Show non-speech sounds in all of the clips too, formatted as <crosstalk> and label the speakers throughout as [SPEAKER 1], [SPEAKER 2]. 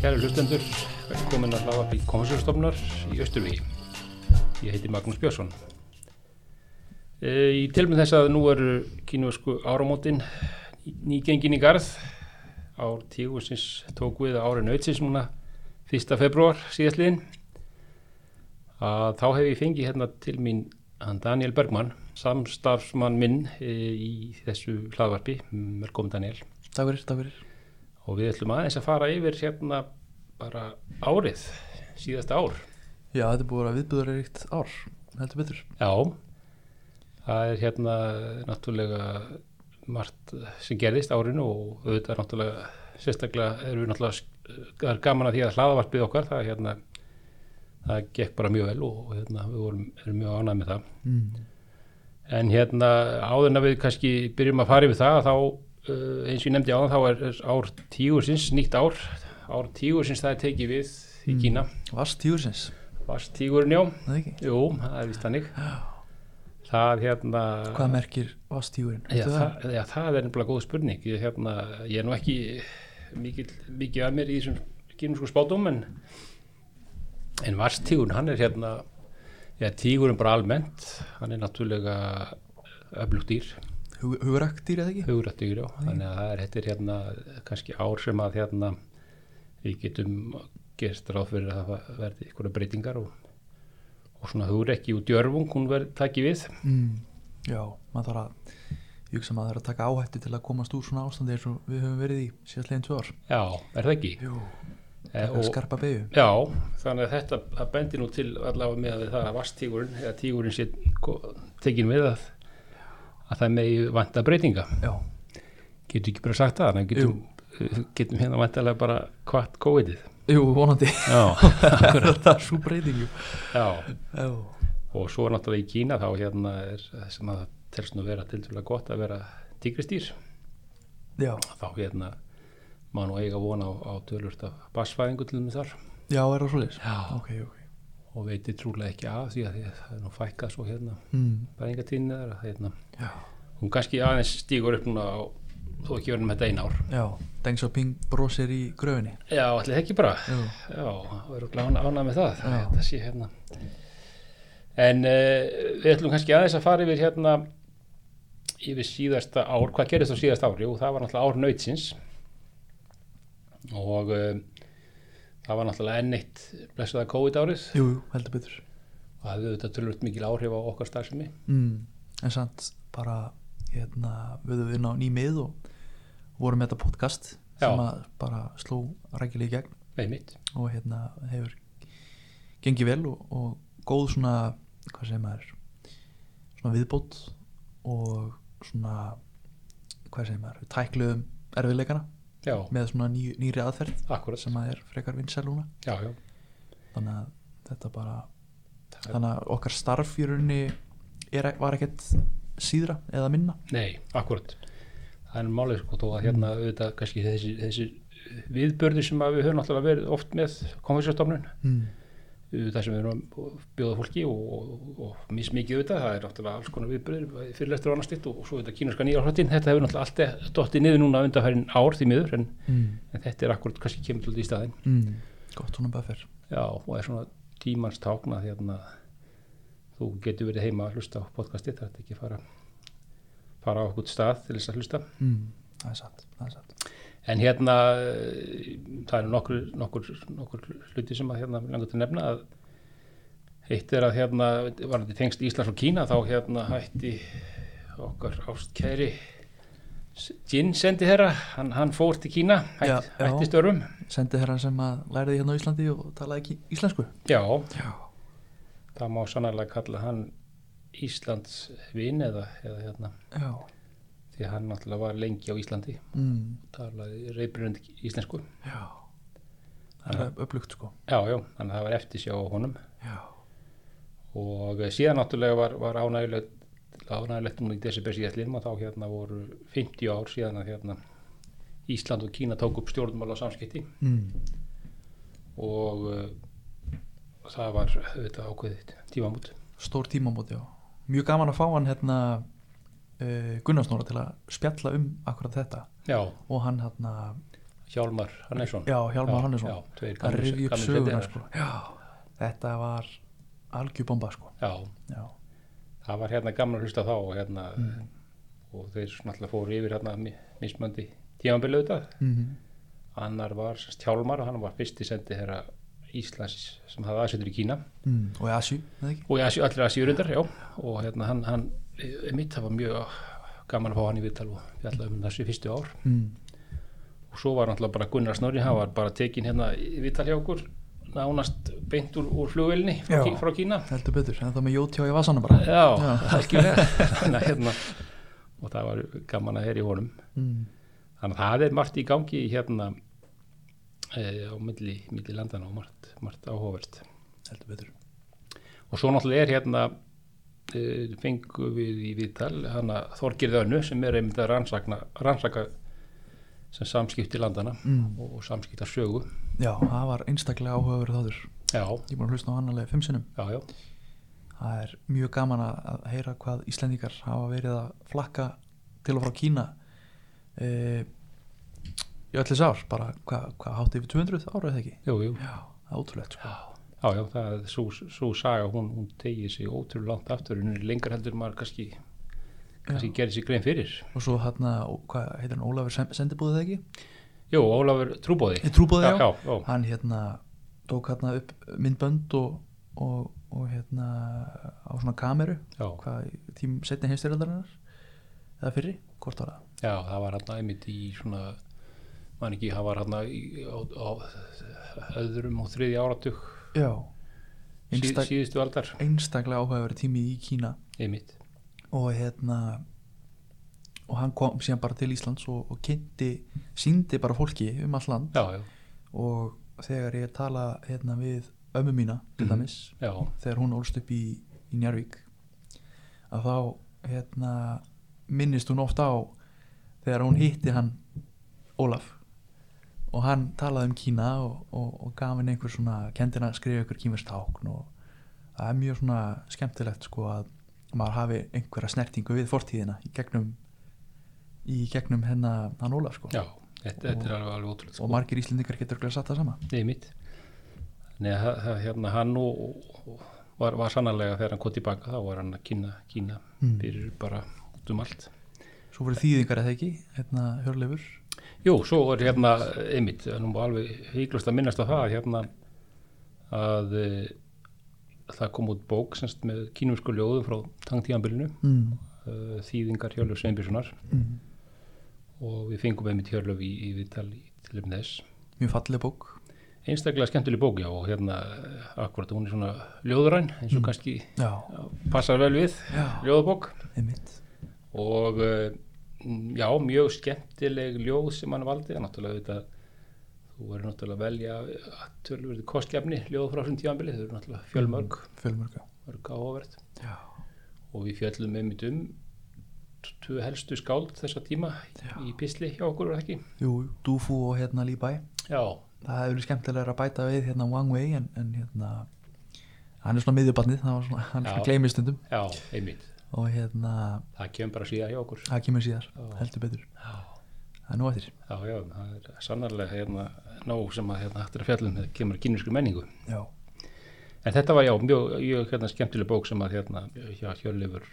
[SPEAKER 1] Kæri hlustendur, velkomin að hlaða upp í konsertstofnar í Östurvíi. Ég heiti Magnús Björnsson. E, í tilmynd þess að nú eru kínvösku áramótin nýgengin í garð. Ár tígusins tók við ári nautsins núna 1. februar síðastliðin. Að þá hef ég fengið hérna til mín hann Daniel Bergmann, samstarfsmann minn e, í þessu hlaðvarpi. Velkomin Daniel.
[SPEAKER 2] Takk fyrir, takk fyrir.
[SPEAKER 1] og við ætlum aðeins að fara yfir hérna bara árið, síðasta ár.
[SPEAKER 2] Já, þetta er búið að vera viðbúðaríkt ár, heldur betur.
[SPEAKER 1] Já, það er hérna náttúrulega margt sem gerðist árinu og auðvitað náttúrulega sérstaklega erum við náttúrulega það er gaman að því að hlaðavarpið okkar það er hérna það gekk bara mjög vel og hérna, við vorum, erum mjög ánægð með það
[SPEAKER 2] Mm.
[SPEAKER 1] en hérna áðurna við kannski byrjum að fara yfir það þá uh, eins og ég nefndi áðan þá er, er ár tígursins, nýtt ár ár tígursins það er tekið við í
[SPEAKER 2] Mm.
[SPEAKER 1] Kína
[SPEAKER 2] Vast tíursins,
[SPEAKER 1] Vastígurinn, já.
[SPEAKER 2] er það ekki?
[SPEAKER 1] Jú, það er vist hannig. Það hérna...
[SPEAKER 2] Hvað merkir vast tíurinn?
[SPEAKER 1] Já, það, já, það er nefnilega góð spurning. Ég, hérna, ég er nú ekki mikið, mikið að mér í þessum kynnsku spátum, en, en varstígurinn, hann er hérna... Já, tígurinn bara almennt, hann er náttúrulega öflugt dýr,
[SPEAKER 2] Huguraktýr eða ekki?
[SPEAKER 1] hugurætt dýr, já. Þannig að það er, þetta er hérna kannski ár sem að hérna við getum gerst ráð fyrir að það verði ykkur breytingar og, og svona hugrekki og djörfung hún verði takki við.
[SPEAKER 2] Mm. Já, maður þarf að, ég hugsa maður þarf að taka áhættu til að komast úr svona ástandi eins og við höfum verið í síðast leginn tvö ár.
[SPEAKER 1] Já, er það ekki?
[SPEAKER 2] Jú, Eh,
[SPEAKER 1] E,
[SPEAKER 2] það er skarpa beigju.
[SPEAKER 1] já, þannig að þetta það bendir nú til allavega með að það að vastígurinn eða tígurinn sé ko- tekin við að, að það megi vanta breytinga.
[SPEAKER 2] Já,
[SPEAKER 1] Getur ekki bara sagt það, þannig að getum, getum hérna vantalega bara kvart COVID-ið.
[SPEAKER 2] jú, vonandi.
[SPEAKER 1] <laughs> Já,
[SPEAKER 2] <laughs> það er svo breyting, jú.
[SPEAKER 1] já.
[SPEAKER 2] Já,
[SPEAKER 1] og svo náttúrulega í Kína þá hérna er það sem að telst nú vera tildulega gott að vera tígristýr
[SPEAKER 2] já,
[SPEAKER 1] þá hérna má nú eiga vona á, á tölvört af basfæðingu til þeim þar
[SPEAKER 2] já, er það svo leys?
[SPEAKER 1] Já.
[SPEAKER 2] Ok, ok.
[SPEAKER 1] og veiti trúlega ekki af því að því að það er nú fækkað svo hérna
[SPEAKER 2] Mm.
[SPEAKER 1] bæðingatíðinni þar að hérna
[SPEAKER 2] Já,
[SPEAKER 1] hún kannski aðeins stígur upp núna á þó ekki verðum þetta einn ár
[SPEAKER 2] já, Deng Xiaoping brosir í gröfinni.
[SPEAKER 1] já, allir það ekki bara
[SPEAKER 2] Jú,
[SPEAKER 1] já, það eru glána ánað með það
[SPEAKER 2] Já.
[SPEAKER 1] þetta sé hérna en uh, við ætlum kannski aðeins að fara yfir hérna yfir síðasta ár, hvað gerist á síðasta ári og það var náttúrulega ár nautsins og uh, það var náttúrulega enn eitt blessaða COVID árið
[SPEAKER 2] jú, jú, heldur betur.
[SPEAKER 1] og það hefði auðvitað tölvöld mikil áhrif á okkar starfsemi
[SPEAKER 2] mm, en samt bara hérna, við höfum inn á nýmið og vorum með þetta podcast
[SPEAKER 1] Já.
[SPEAKER 2] sem að bara sló rækilega í gegn
[SPEAKER 1] með mitt,
[SPEAKER 2] og hérna hefur gengið vel og, og góð svona hvað segir maður svona viðbót og svona hvað segir maður, við tækluðum erfiðleikana
[SPEAKER 1] já,
[SPEAKER 2] með svona ný, nýri aðferð
[SPEAKER 1] akkurat
[SPEAKER 2] sem að er frekar vinsæluna
[SPEAKER 1] já, já,
[SPEAKER 2] þannig að þetta bara
[SPEAKER 1] það,
[SPEAKER 2] þannig að okkar starf í rauninni er, e, var ekkert síðra eða minna
[SPEAKER 1] nei, akkurat það er nú málið sko, þó að hérna auðvitað kannski þessi, þessi viðbörði sem að við höfum náttúrulega verið oft með konfessjastofnun
[SPEAKER 2] mm.
[SPEAKER 1] það sem við erum að bjóða fólki og, og, og mismikið auðvitað, það er náttúrulega alls konar viðbröður, fyrirlestur og annars ditt og, og svo þetta kínurska nýja hrottin, þetta hefur náttúrulega allt eh, dottið niður núna undanfærin ár því miður en,
[SPEAKER 2] Mm.
[SPEAKER 1] en þetta er akkurat kannski kemur til í staðinn
[SPEAKER 2] Mm. gott hún að bæða fyrr
[SPEAKER 1] já, og er svona tímans tákna því að þú getur verið heima að hlusta á podcastið, það er ekki að fara fara á okkur stað til þess að hlusta
[SPEAKER 2] mm. það er satt, það er satt.
[SPEAKER 1] en hérna eh, það eru nokkur, nokkur, nokkur hluti sem að hérna mig langar til að nefna að eitt er að hérna var þetta tengst Íslands og Kína þá hérna hætti okkar ástkæri Jin sendi þeirra, hann, hann fór til Kína hætti,
[SPEAKER 2] Já, já.
[SPEAKER 1] hætti störfum
[SPEAKER 2] sendi herran sem að læriði hérna á Íslandi og talaði ekki íslensku
[SPEAKER 1] já,
[SPEAKER 2] já,
[SPEAKER 1] það má sannarlega kalla hann Íslands vin eða, eða hérna
[SPEAKER 2] já.
[SPEAKER 1] því að hann náttúrulega var lengi á Íslandi
[SPEAKER 2] Mm.
[SPEAKER 1] talaði reybrunandi íslensku
[SPEAKER 2] já. það er upplugt sko
[SPEAKER 1] já, já, þannig að það var eftir sjá honum
[SPEAKER 2] já,
[SPEAKER 1] og síðan náttúrulega var, var ánægilegt ánægilegt núna í desember síðastlinn og þá hérna voru 50 ár síðan að hérna Ísland og Kína tók upp stjórnmála og samskipti
[SPEAKER 2] mm.
[SPEAKER 1] og uh, það var auðvitað ákveðið tímamút
[SPEAKER 2] stór tímamót já mjög gaman að fá hann hérna eh, uh, Gunnarsnóra til að spjalla um akkurat þetta
[SPEAKER 1] já,
[SPEAKER 2] og hann hérna
[SPEAKER 1] Hjálmar Hannesson
[SPEAKER 2] já, Hjálmar Hannesson
[SPEAKER 1] já, tveir
[SPEAKER 2] að
[SPEAKER 1] gamlir-
[SPEAKER 2] rifja upp
[SPEAKER 1] gamlir
[SPEAKER 2] söguna
[SPEAKER 1] sendiherrar.
[SPEAKER 2] sko. já, þetta var algjörbomba sko.
[SPEAKER 1] já,
[SPEAKER 2] já,
[SPEAKER 1] það var hérna gaman að hlusta þá og hérna
[SPEAKER 2] Mm.
[SPEAKER 1] og þeir svona alltaf fóru yfir hérna mi- mismandi tímabilið auðvitað
[SPEAKER 2] mm
[SPEAKER 1] annar var sérst Hjálmar og hann var fyrsti sendi þeirra Íslands sem hafði aðsetur í Kína
[SPEAKER 2] mm, og í Asju, eða ekki
[SPEAKER 1] og í Asi, allir Asíurindar, já og hérna hann, hann eh, mitt það var mjög gaman að fá hann í viðtal og fjalla um þessi fyrstu ár
[SPEAKER 2] mm.
[SPEAKER 1] og svo var náttúrulega bara Gunnar Snorri hann var bara tekin hérna í viðtal hjá okkur nánast beint úr, úr flugvelni frá,
[SPEAKER 2] Já.
[SPEAKER 1] Kí- frá Kína
[SPEAKER 2] heldur betur, en það með jótjá í vasana bara
[SPEAKER 1] já,
[SPEAKER 2] Já. <laughs>
[SPEAKER 1] algjörlega þannig að hérna og það var gaman að heyra í honum
[SPEAKER 2] mm.
[SPEAKER 1] þannig að það er margt í gangi hérna eh, á milli, milli landana og margt, margt áhóvert
[SPEAKER 2] heldur betur
[SPEAKER 1] og svo náttúrulega er hérna eh, fengum við í viðtal hana Þorgirði Önnu sem er einmitt að rannsakna, rannsaka sem samskipti landana
[SPEAKER 2] Mm.
[SPEAKER 1] og, og samskipta sögu
[SPEAKER 2] já, það var einstaklega áhugaverð þáttur
[SPEAKER 1] já,
[SPEAKER 2] ég er búin að hlusta á hann alveg fimm sinnum
[SPEAKER 1] já, já,
[SPEAKER 2] það er mjög gaman að að heyra hvað Íslendingar hafa verið að flakka til og frá Kína e, í öllis ár bara hvað hva, hátt yfir 200 ára eða ekki
[SPEAKER 1] jú, jú
[SPEAKER 2] já, það er ótrúlegt sko.
[SPEAKER 1] já, já, það er svo, svo saga hún, hún tegið sig ótrúlega langt aftur hún er lengur heldur en maður kannski kannski gerði sér grein fyrir
[SPEAKER 2] og svo hann hvað heitir hann Ólafur Sem- Sendibúðið eða ekki
[SPEAKER 1] Jú, Ólafur Trúbóði
[SPEAKER 2] Ég trúbóði, já,
[SPEAKER 1] já, já.
[SPEAKER 2] hann hérna tók hérna upp myndbönd og, og, og hérna á svona kameru
[SPEAKER 1] Já.
[SPEAKER 2] hvað, tím setni heimstyrjaldarinnar eða fyrri, hvort var það
[SPEAKER 1] Já, það var hann einmitt í svona mann ekki, það var hann á, á öðrum og þriði áratug
[SPEAKER 2] já,
[SPEAKER 1] síð,
[SPEAKER 2] Einstak,
[SPEAKER 1] síðustu aldar
[SPEAKER 2] einstaklega áhugaverið tími í Kína
[SPEAKER 1] einmitt,
[SPEAKER 2] og hérna og hann kom síðan bara til Íslands og, og kynnti, síndi bara fólki um all land
[SPEAKER 1] já, já,
[SPEAKER 2] og þegar ég tala hérna við ömmu mína, til
[SPEAKER 1] Mhm.
[SPEAKER 2] dæmis
[SPEAKER 1] já,
[SPEAKER 2] þegar hún ólst upp í, í Njárvík að þá hérna, minnist hún oft á þegar hún hitti hann Ólaf og hann talaði um Kína og, og, og gaf henni einhver svona kendina að skrifa ykkur kímerstákn og það er mjög svona skemmtilegt sko að maður hafi einhverja snertingu við fortíðina í gegnum í gegnum hennar hann Ólaf sko
[SPEAKER 1] já þetta, þetta er alveg, alveg ótrúlega
[SPEAKER 2] og
[SPEAKER 1] sko,
[SPEAKER 2] margir íslendingar getur örugglega sagt það sama
[SPEAKER 1] einmitt Nei, það, það- hérna hann og, og- og var, var sannarlega þegar hann kom tilbaka þá var hann að kýna, kýna
[SPEAKER 2] Mm.
[SPEAKER 1] fyrir bara út um allt
[SPEAKER 2] svo voru þýðingar eða ekki, hérna Hjörleifur
[SPEAKER 1] Jú, svo er hérna einmitt, nú má alveg híklust að minnast á það hérna að e, það kom út bók semst með kínumsku ljóðum frá tangtíðanbylinu,
[SPEAKER 2] mm.
[SPEAKER 1] e, þýðingar Hjörlöf Sveinbjörnssonar
[SPEAKER 2] Mm.
[SPEAKER 1] og við fengum einmitt Hjörlöf í, í viðtal í tilum þess.
[SPEAKER 2] mjög falleg bók
[SPEAKER 1] Einstaklega skemmtileg bók, já, og hérna akkurat hún er svona ljóðræn eins og kannski
[SPEAKER 2] Já,
[SPEAKER 1] passar vel við
[SPEAKER 2] Já.
[SPEAKER 1] ljóðabók
[SPEAKER 2] einmitt
[SPEAKER 1] og eh, m, já, mjög skemmtileg ljóð sem hann valdi náttúrulega þetta þú verður náttúrulega að velja tölvörðu kostgefni ljóð frá þessum tímanbili þau eru náttúrulega fjölmörg,
[SPEAKER 2] Fjölmörg,
[SPEAKER 1] mörg áhverð
[SPEAKER 2] já
[SPEAKER 1] og við fjöllum einmitt um tvö helstu skáld þessa tíma í pisli hjá okkur var það ekki
[SPEAKER 2] Jú, jú, Dúfú og hérna Líbæ
[SPEAKER 1] já,
[SPEAKER 2] Það hefur verið skemmtilega að bæta við hérna Wang Wei en, en hérna hann er svona miðjubarnið, það var svona, hann
[SPEAKER 1] Já.
[SPEAKER 2] er svona gleymið stundum
[SPEAKER 1] já, einmitt
[SPEAKER 2] og hérna,
[SPEAKER 1] það kemur bara síðan hjá okkur
[SPEAKER 2] það kemur síðar
[SPEAKER 1] Já.
[SPEAKER 2] heldur betur,
[SPEAKER 1] já,
[SPEAKER 2] það er nú eftir
[SPEAKER 1] já, já það er sannarlega hérna, nóg sem að hérna hættir að fjallum þegar kemur að kynvísku menningu
[SPEAKER 2] Já,
[SPEAKER 1] En þetta var já, mjög, mjög hérna, skemmtileg bók sem að hérna, hjá Hjörleifur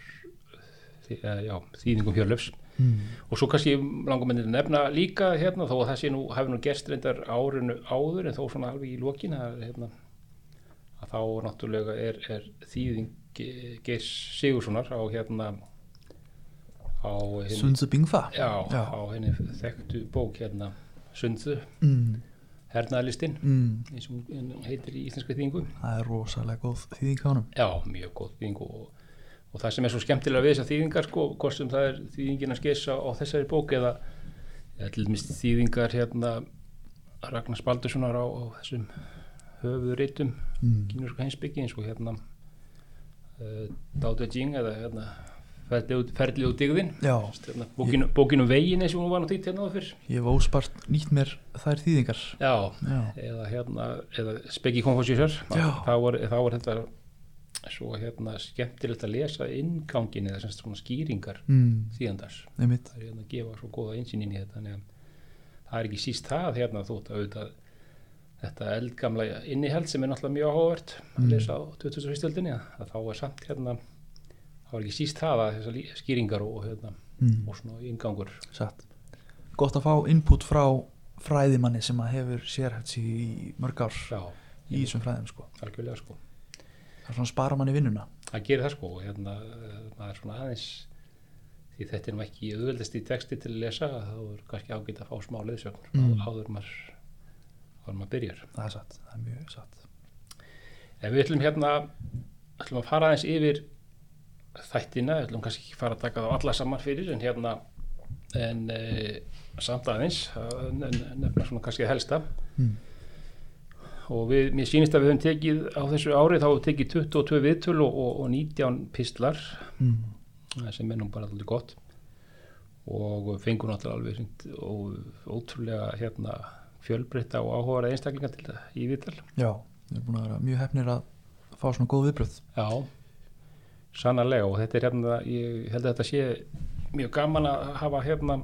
[SPEAKER 1] þi- eh, já, þýðingum Hjörleifs
[SPEAKER 2] mm.
[SPEAKER 1] og svo kannski langar myndið að nefna líka hérna, þó að það sé nú, hafi nú gerst reyndar árinu áður en þó svona alveg í lokin að, hérna, að þá náttúrulega er, er þýðing Ge- Geirs Sigurssonar á hérna á henni,
[SPEAKER 2] Sunzu Bingfa
[SPEAKER 1] já,
[SPEAKER 2] Já.
[SPEAKER 1] á henni þekktu bók hérna Sundðu,
[SPEAKER 2] Mm.
[SPEAKER 1] hernaðlistin
[SPEAKER 2] Mm.
[SPEAKER 1] eins og hún heitir í íslenska þýðingu
[SPEAKER 2] Það er rosalega góð þýðing á honum
[SPEAKER 1] Já, mjög góð þýðing og, og það sem er svo skemmtilega við þessar þýðingar sko, hvort sem það er þýðingin að skissa á þessari bók eða eða til dæmis þýðingar hérna Ragnar Spaldurssonar á, á þessum höfuðritum
[SPEAKER 2] Mm.
[SPEAKER 1] kínurska heimsbyggi eins og hérna uh, Dao De Jing eða hérna Ferli út, ferli út digðin
[SPEAKER 2] Já,
[SPEAKER 1] hérna, bókin, bókin um veginn eins og hún var nú týtt hérna á fyrr
[SPEAKER 2] ég hef óspart nýtt mér þær þýðingar
[SPEAKER 1] Já,
[SPEAKER 2] Já,
[SPEAKER 1] eða hérna eða Speggi Konfosjusar
[SPEAKER 2] Já.
[SPEAKER 1] þá var, þá var þetta svo hérna skemmtilegt að lesa inngangin eða semst svona skýringar
[SPEAKER 2] mm.
[SPEAKER 1] þýðandars
[SPEAKER 2] einmitt
[SPEAKER 1] það er hérna að gefa svo góða einsýnin í þetta þannig að það er ekki síst það hérna þótt að auðvitað þetta eldgamla inniheld sem er náttúrulega mjög áhugavert
[SPEAKER 2] Mm.
[SPEAKER 1] að lesa á 2001. öldinni að að þá er samt hérna þá er ekki síst það að þessar lí- skýringar og, hérna,
[SPEAKER 2] mm.
[SPEAKER 1] og svona yngangur
[SPEAKER 2] satt gott að fá input frá fræðimanni sem að hefur sérhæft sig í mörg ár
[SPEAKER 1] frá
[SPEAKER 2] í þessum fræðum sko
[SPEAKER 1] algjörlega sko
[SPEAKER 2] það er svona spara manni vinnuna
[SPEAKER 1] það gerir það sko og hérna eh, maður svona aðeins því þetta er nú ekki auðveldast í texti til að lesa þá er kannski ágætt að fá smá leðsögn
[SPEAKER 2] Mm.
[SPEAKER 1] áður maður áður maður byrjar
[SPEAKER 2] það er satt, það er mjög satt
[SPEAKER 1] Ef við ætlum hérna, ætlum að fara aðeins yfir þættina, við ætlum kannski ekki fara að taka þá alla saman fyrir, en hérna, en e, samt aðeins, að ne- ne- nefna svona kannski að helsta.
[SPEAKER 2] Mm.
[SPEAKER 1] Og við, mér sýnist að við höfum tekið á þessu ári, þá höfum við tekið 22 viðtöl og, og, og 19 pistlar,
[SPEAKER 2] mm.
[SPEAKER 1] sem er nú bara alltaf gott. Og fengur náttúrulega alveg hreint og ótrúlega hérna fjölbreytta og áhugaða einstaklinga til það í viðtal.
[SPEAKER 2] já, við erum búin að vera mjög hefnir að fá svona góð viðbröð
[SPEAKER 1] Já, sannarlega og þetta er hérna, ég held að þetta sé mjög gaman að hafa hérna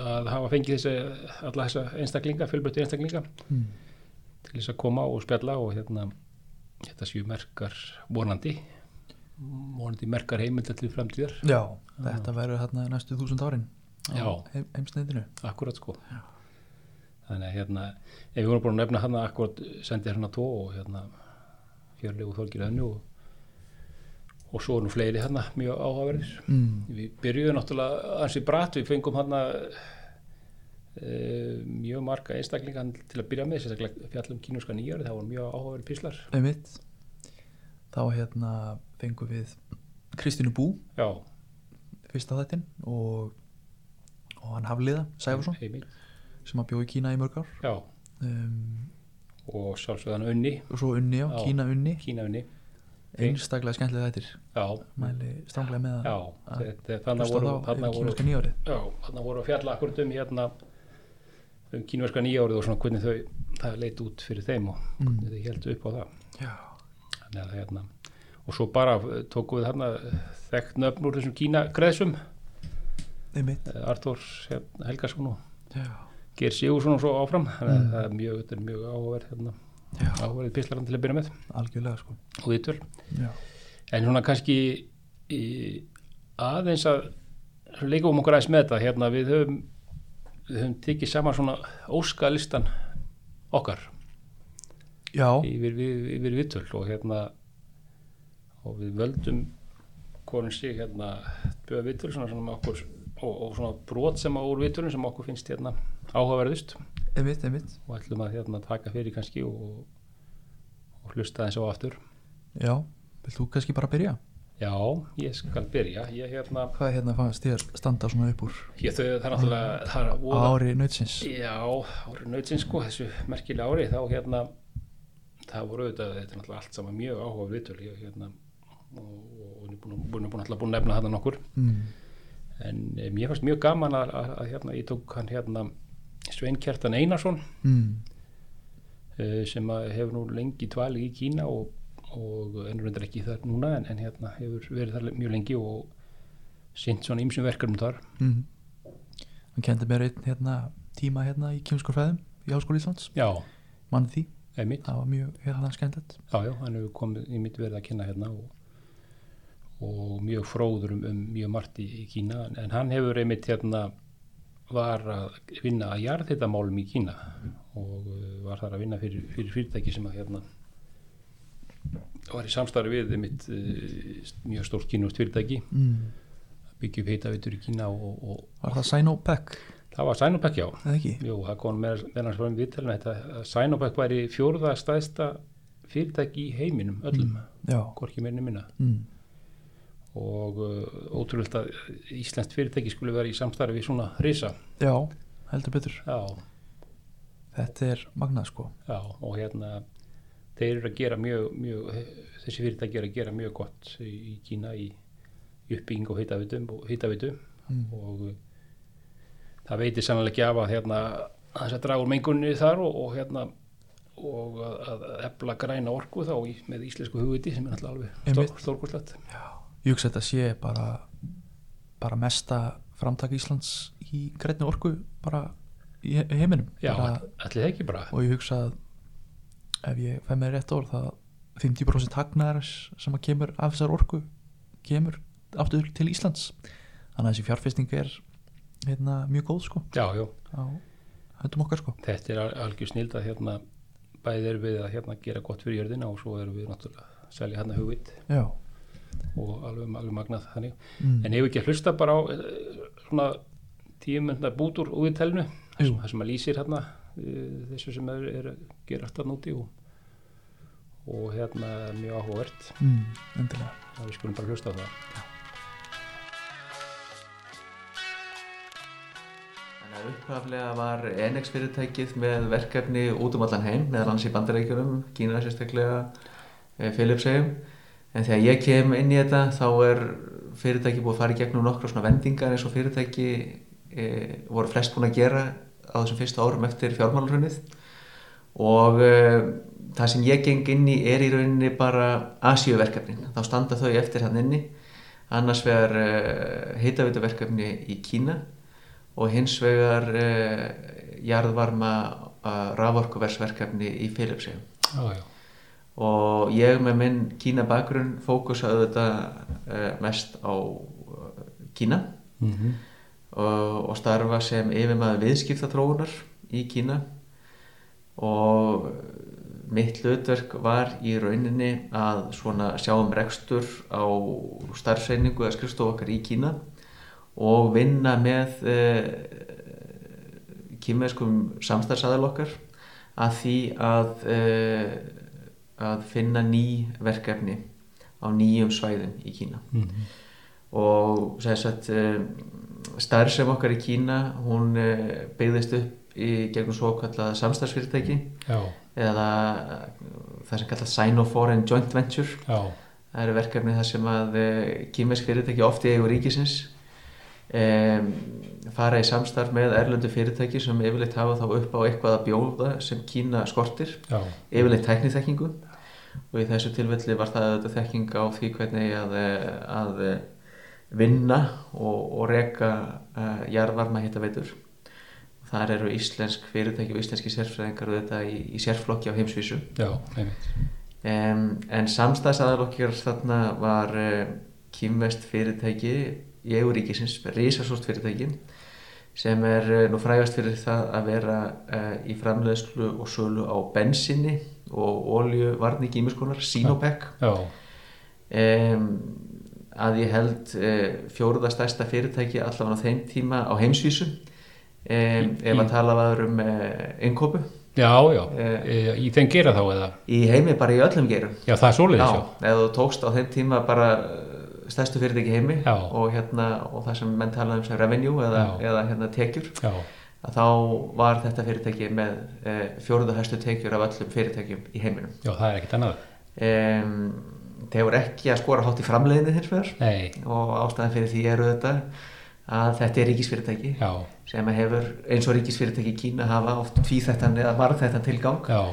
[SPEAKER 1] að hafa fengið þessi, alla þessa einstaklinga, fjölbreyttu einstaklinga
[SPEAKER 2] mm.
[SPEAKER 1] til þess að koma og spjalla og hérna þetta séu merkar vonandi vonandi merkar heimildar til framtíðar
[SPEAKER 2] já, þetta verður hérna næstu þúsund árin
[SPEAKER 1] Já.
[SPEAKER 2] heim, heimsneitinu
[SPEAKER 1] akkurat sko þannig að hérna, ef við vorum búin að nefna hann akkurat sendi hérna tvo og hérna Hjörlegu Þorgir Önnu og, og svo er nú fleiri hérna mjög áhugaverðir
[SPEAKER 2] mm.
[SPEAKER 1] Við byrjuðum náttúrulega ansi bratt, við fengum hann að mjög marga einstaklinga þarna til að byrja með, sérstaklega fjallum kínúska nýjari, það voru mjög áhugaverið píslar.
[SPEAKER 2] einmitt þá hérna fengum við Kristínu Bú,
[SPEAKER 1] Já,
[SPEAKER 2] fyrsta þættin og, og hann Hafliða Sæfarsson
[SPEAKER 1] Heimir.
[SPEAKER 2] sem að bjó í Kína í mörg ár
[SPEAKER 1] Já,
[SPEAKER 2] um,
[SPEAKER 1] og sjálfsögðan Unni,
[SPEAKER 2] og svo Unni, já,
[SPEAKER 1] Já.
[SPEAKER 2] Kína Unni
[SPEAKER 1] Kína Unni.
[SPEAKER 2] einstaklega skemmtilega þættir
[SPEAKER 1] Já,
[SPEAKER 2] mæli stranglega með
[SPEAKER 1] já,
[SPEAKER 2] að
[SPEAKER 1] þetta er þannig að
[SPEAKER 2] hlusta
[SPEAKER 1] voru,
[SPEAKER 2] þá
[SPEAKER 1] þannig að
[SPEAKER 2] yfir
[SPEAKER 1] voru,
[SPEAKER 2] kínuska nýjárið
[SPEAKER 1] já, þannig að voru að fjalla akkurat um hérna um kínverska nýjárið og svona hvernig þau, það leit út fyrir þeim og
[SPEAKER 2] Mm.
[SPEAKER 1] þau heldu upp á það.
[SPEAKER 2] já,
[SPEAKER 1] Þannig að hérna, og svo bara eh, tókum við hérna þekkt nöfn úr þessum Kína kreðsum
[SPEAKER 2] einmitt
[SPEAKER 1] Eh, Artur hérna, Helgason og
[SPEAKER 2] já,
[SPEAKER 1] Geir Sigursson og svo áfram þannig að það er mjög, þetta er mjög áhugaverð hérna,
[SPEAKER 2] já,
[SPEAKER 1] áhugaverð pislarann til að byrja með
[SPEAKER 2] algjörlega sko
[SPEAKER 1] og viðtöl
[SPEAKER 2] já,
[SPEAKER 1] en svona kannski í, aðeins að leikum okkur aðeins með þetta hérna við höfum við höfum tekið saman svona óskalistan okkar
[SPEAKER 2] já,
[SPEAKER 1] yfir, yfir, yfir viðtöl og hérna og við völdum hvorn sig hérna bjöða viðtöl svona, svona með okkur og, og svona brot sem að úr viðtölum sem okkur finnst hérna áhugaverðust
[SPEAKER 2] einmitt, einmitt
[SPEAKER 1] og ætlum að hérna taka fyrir kannski og, og hlusta eins og aftur
[SPEAKER 2] já, vilt þú kannski bara byrja?
[SPEAKER 1] já, ég skal byrja ég hérna,
[SPEAKER 2] hvað hérna fannst þér standa svona upp úr
[SPEAKER 1] ég þau það er náttúrulega það er að
[SPEAKER 2] á
[SPEAKER 1] voða
[SPEAKER 2] ári nautsins
[SPEAKER 1] já, árið nautsins sko, þessu merkilega ári þá hérna það voru auðvitað, þetta er náttúrulega allt saman mjög áhuga viðtöl, ég hérna og, og, og búin, að- búin, að- búin, alltaf búin að nefna þarna nokkur
[SPEAKER 2] mm.
[SPEAKER 1] en eh, mér fannst mjög gaman að, að, að hérna, ég tók hann hérna Svein Kjartan Einarsson
[SPEAKER 2] Mm.
[SPEAKER 1] eh, sem að hefur nú lengi dvalið í Kína og, og ennur endur ekki þar núna en, en hérna hefur verið þar mjög lengi og sint svona ýmsum verkefnum þar
[SPEAKER 2] Mm. hann kendi mér einn hérna tíma hérna í kemskur fræðum í Háskóli Íslands,
[SPEAKER 1] já,
[SPEAKER 2] manni því
[SPEAKER 1] einmitt,
[SPEAKER 2] það var mjög hérna skemmtilegt
[SPEAKER 1] já, já, hann hefur komið í mitt verið að kynna hérna og, og mjög fróður um, um mjög margt í, í Kína en, en hann hefur einmitt hérna var að vinna að jarðhitamálum í Kína og eh, var þar að vinna fyrir, fyrir fyrirtæki sem að hérna var í samstarfi við einmitt eh, mjög stórt kínust fyrirtæki
[SPEAKER 2] mm.
[SPEAKER 1] byggja upp heitaveitur í Kína og, og
[SPEAKER 2] var það Sinopec,
[SPEAKER 1] það var Sinopec já
[SPEAKER 2] eða ekki?
[SPEAKER 1] Jú, það kom með hans fram viðtalina þetta að Sinopec væri fjórða stæðsta fyrirtæki í heiminum öllum,
[SPEAKER 2] já,
[SPEAKER 1] hvorki meirinu minna
[SPEAKER 2] mm.
[SPEAKER 1] og uh, ótrúlegt að Íslands fyrirtæki skulle vera í samstarfi við svona risa
[SPEAKER 2] já, heldur betur
[SPEAKER 1] já,
[SPEAKER 2] Þetta er magnað sko
[SPEAKER 1] já, og hérna þeir eru að gera mjög, mjög þessi fyrirtæki eru að gera mjög gott í, í Kína í, í uppbygging og hitaveitum og hitaveitu
[SPEAKER 2] mm.
[SPEAKER 1] og uh, það veitir sannlega ekki af að hérna að þess að draga úr mengunni þar og, og hérna og að, að efla græna orku þá í, með íslensku hugviti sem er náttúrulega alveg
[SPEAKER 2] Einmitt.
[SPEAKER 1] stór, stórkurslegt
[SPEAKER 2] Ég hugsa þetta sé bara bara mesta framtak Íslands í grænni orku bara í he- heiminum
[SPEAKER 1] já,
[SPEAKER 2] Bara-
[SPEAKER 1] allir það ekki bara
[SPEAKER 2] og ég hugsa að ef ég fæ mér rétt orð það 50% hagnaðar sem að kemur af þessar orku kemur aftur til Íslands þannig að þessi fjárfesting er hérna, mjög góð sko
[SPEAKER 1] já, já,
[SPEAKER 2] á höndum okkar sko
[SPEAKER 1] þetta er al- algjör snild að hérna bæði erum við að hérna gera gott fyrir jörðina og svo erum við náttúrulega að selja hérna hugvit
[SPEAKER 2] já,
[SPEAKER 1] og alveg, alveg magnað þannig
[SPEAKER 2] mm.
[SPEAKER 1] en ef ekki að hlusta bara á eh, svona tíumönda bútur úr telnu
[SPEAKER 2] Jú.
[SPEAKER 1] það sem að lýsir hérna eh, þessu sem er, er að gera alltaf núti og, og hérna mjög áhugavert
[SPEAKER 2] mm, endilega
[SPEAKER 1] að við skulum bara hlusta á það
[SPEAKER 3] Þannig að upphaflega var Enex fyrirtækið með verkefni út um allan heim, meðal hans í bandarækjunum, Kína sérstaklega, eh, Filipsheim. En þegar ég kem inn í þetta þá er fyrirtæki búið að fara í gegnum nokkra svona vendingar eins og fyrirtæki e, voru flest búin að gera á þessum fyrstu árum eftir fjármálurhunnið. Og e, það sem ég geng inn í er í rauninni bara Asíuverkefnin. Þá standa þau eftir hann inni, annars vegar e, heitavitaverkefni í Kína og hins vegar uh, jarðvarma uh, raforkuversverkefni í Filipsíum
[SPEAKER 1] já, já,
[SPEAKER 3] og ég með minn Kína bakgrunn fókusaði þetta uh, mest á uh, Kína
[SPEAKER 1] mm -hmm.
[SPEAKER 3] og, og starfa sem yfirmaður viðskiptatróunar í Kína og mitt hlutverk var í rauninni að svona sjá um rekstur á starfsreiningu eða skrifstofu okkar í Kína og vinna með eh, kýmverskum samstarfsaðal okkar að því að, eh, að finna ný verkefni á nýjum svæðum í Kína
[SPEAKER 1] mhm.
[SPEAKER 3] og sem sagt starf sem okkar í Kína hún eh, byggðist upp í gegnum svo kallað samstarfsfyrirtæki
[SPEAKER 1] já,
[SPEAKER 3] eða eh, það sem kallað Sino-Foreign Joint Venture
[SPEAKER 1] já,
[SPEAKER 3] það eru verkefni þar sem að eh, kýmversk fyrirtæki ofti eigu ríkisins um, fara í samstarf með erlendu fyrirtæki sem yfirleitt hafa þá upp á eitthvað að bjóða sem Kína skortir
[SPEAKER 1] já,
[SPEAKER 3] yfirleitt tækniþekkingu og í þessu tilfelli var það þetta þekking á því hvernig að, eh, að eh, vinna og, og reka uh, jarðvarma hittaveitur. Þar eru íslensk fyrirtæki og íslenski sérfræðingar og þetta í, í sérflokki á heimsvísu.
[SPEAKER 1] já, einmitt
[SPEAKER 3] Um, en samstæðsadalokkjör þarna var uh, kýmvest fyrirtæki í eigu ríkisins, risasort fyrirtæki sem er eh, nú frægast fyrir það að vera uh, í framleiðslu og sölu á bensinni og olju varni gímiskonar, Sinopec
[SPEAKER 1] já,
[SPEAKER 3] um, að ég held uh, fjóruða stærsta fyrirtæki allavega á þeim tíma á heimsvísu um, ef að tala var um uh, innkópu
[SPEAKER 1] já, já,
[SPEAKER 3] Eh.
[SPEAKER 1] e, í þeim gera þá eða
[SPEAKER 3] í heimi bara í öllum gerum
[SPEAKER 1] já, það er svoleiðis, já,
[SPEAKER 3] Já, eða þú tókst á þeim tíma bara eh, stærstu fyrirtæki í heimi
[SPEAKER 1] Já.
[SPEAKER 3] og, hérna, og það sem menn talaði um sem revenue eða,
[SPEAKER 1] Já.
[SPEAKER 3] eða hérna, tekjur
[SPEAKER 1] já,
[SPEAKER 3] að þá var þetta fyrirtæki með e, fjóruða hæstu tekjur af öllum fyrirtækjum í heiminum.
[SPEAKER 1] já, það er ekkert annað
[SPEAKER 3] E, þeir voru ekki að skora hátt í framleiðinni hins vegar
[SPEAKER 1] nei,
[SPEAKER 3] og ástæðan fyrir því eru þetta að þetta er ríkisfyrirtæki
[SPEAKER 1] já,
[SPEAKER 3] sem hefur eins og ríkisfyrirtæki í Kína hafa oft tvíþættan eða varðþættan tilgang
[SPEAKER 1] já,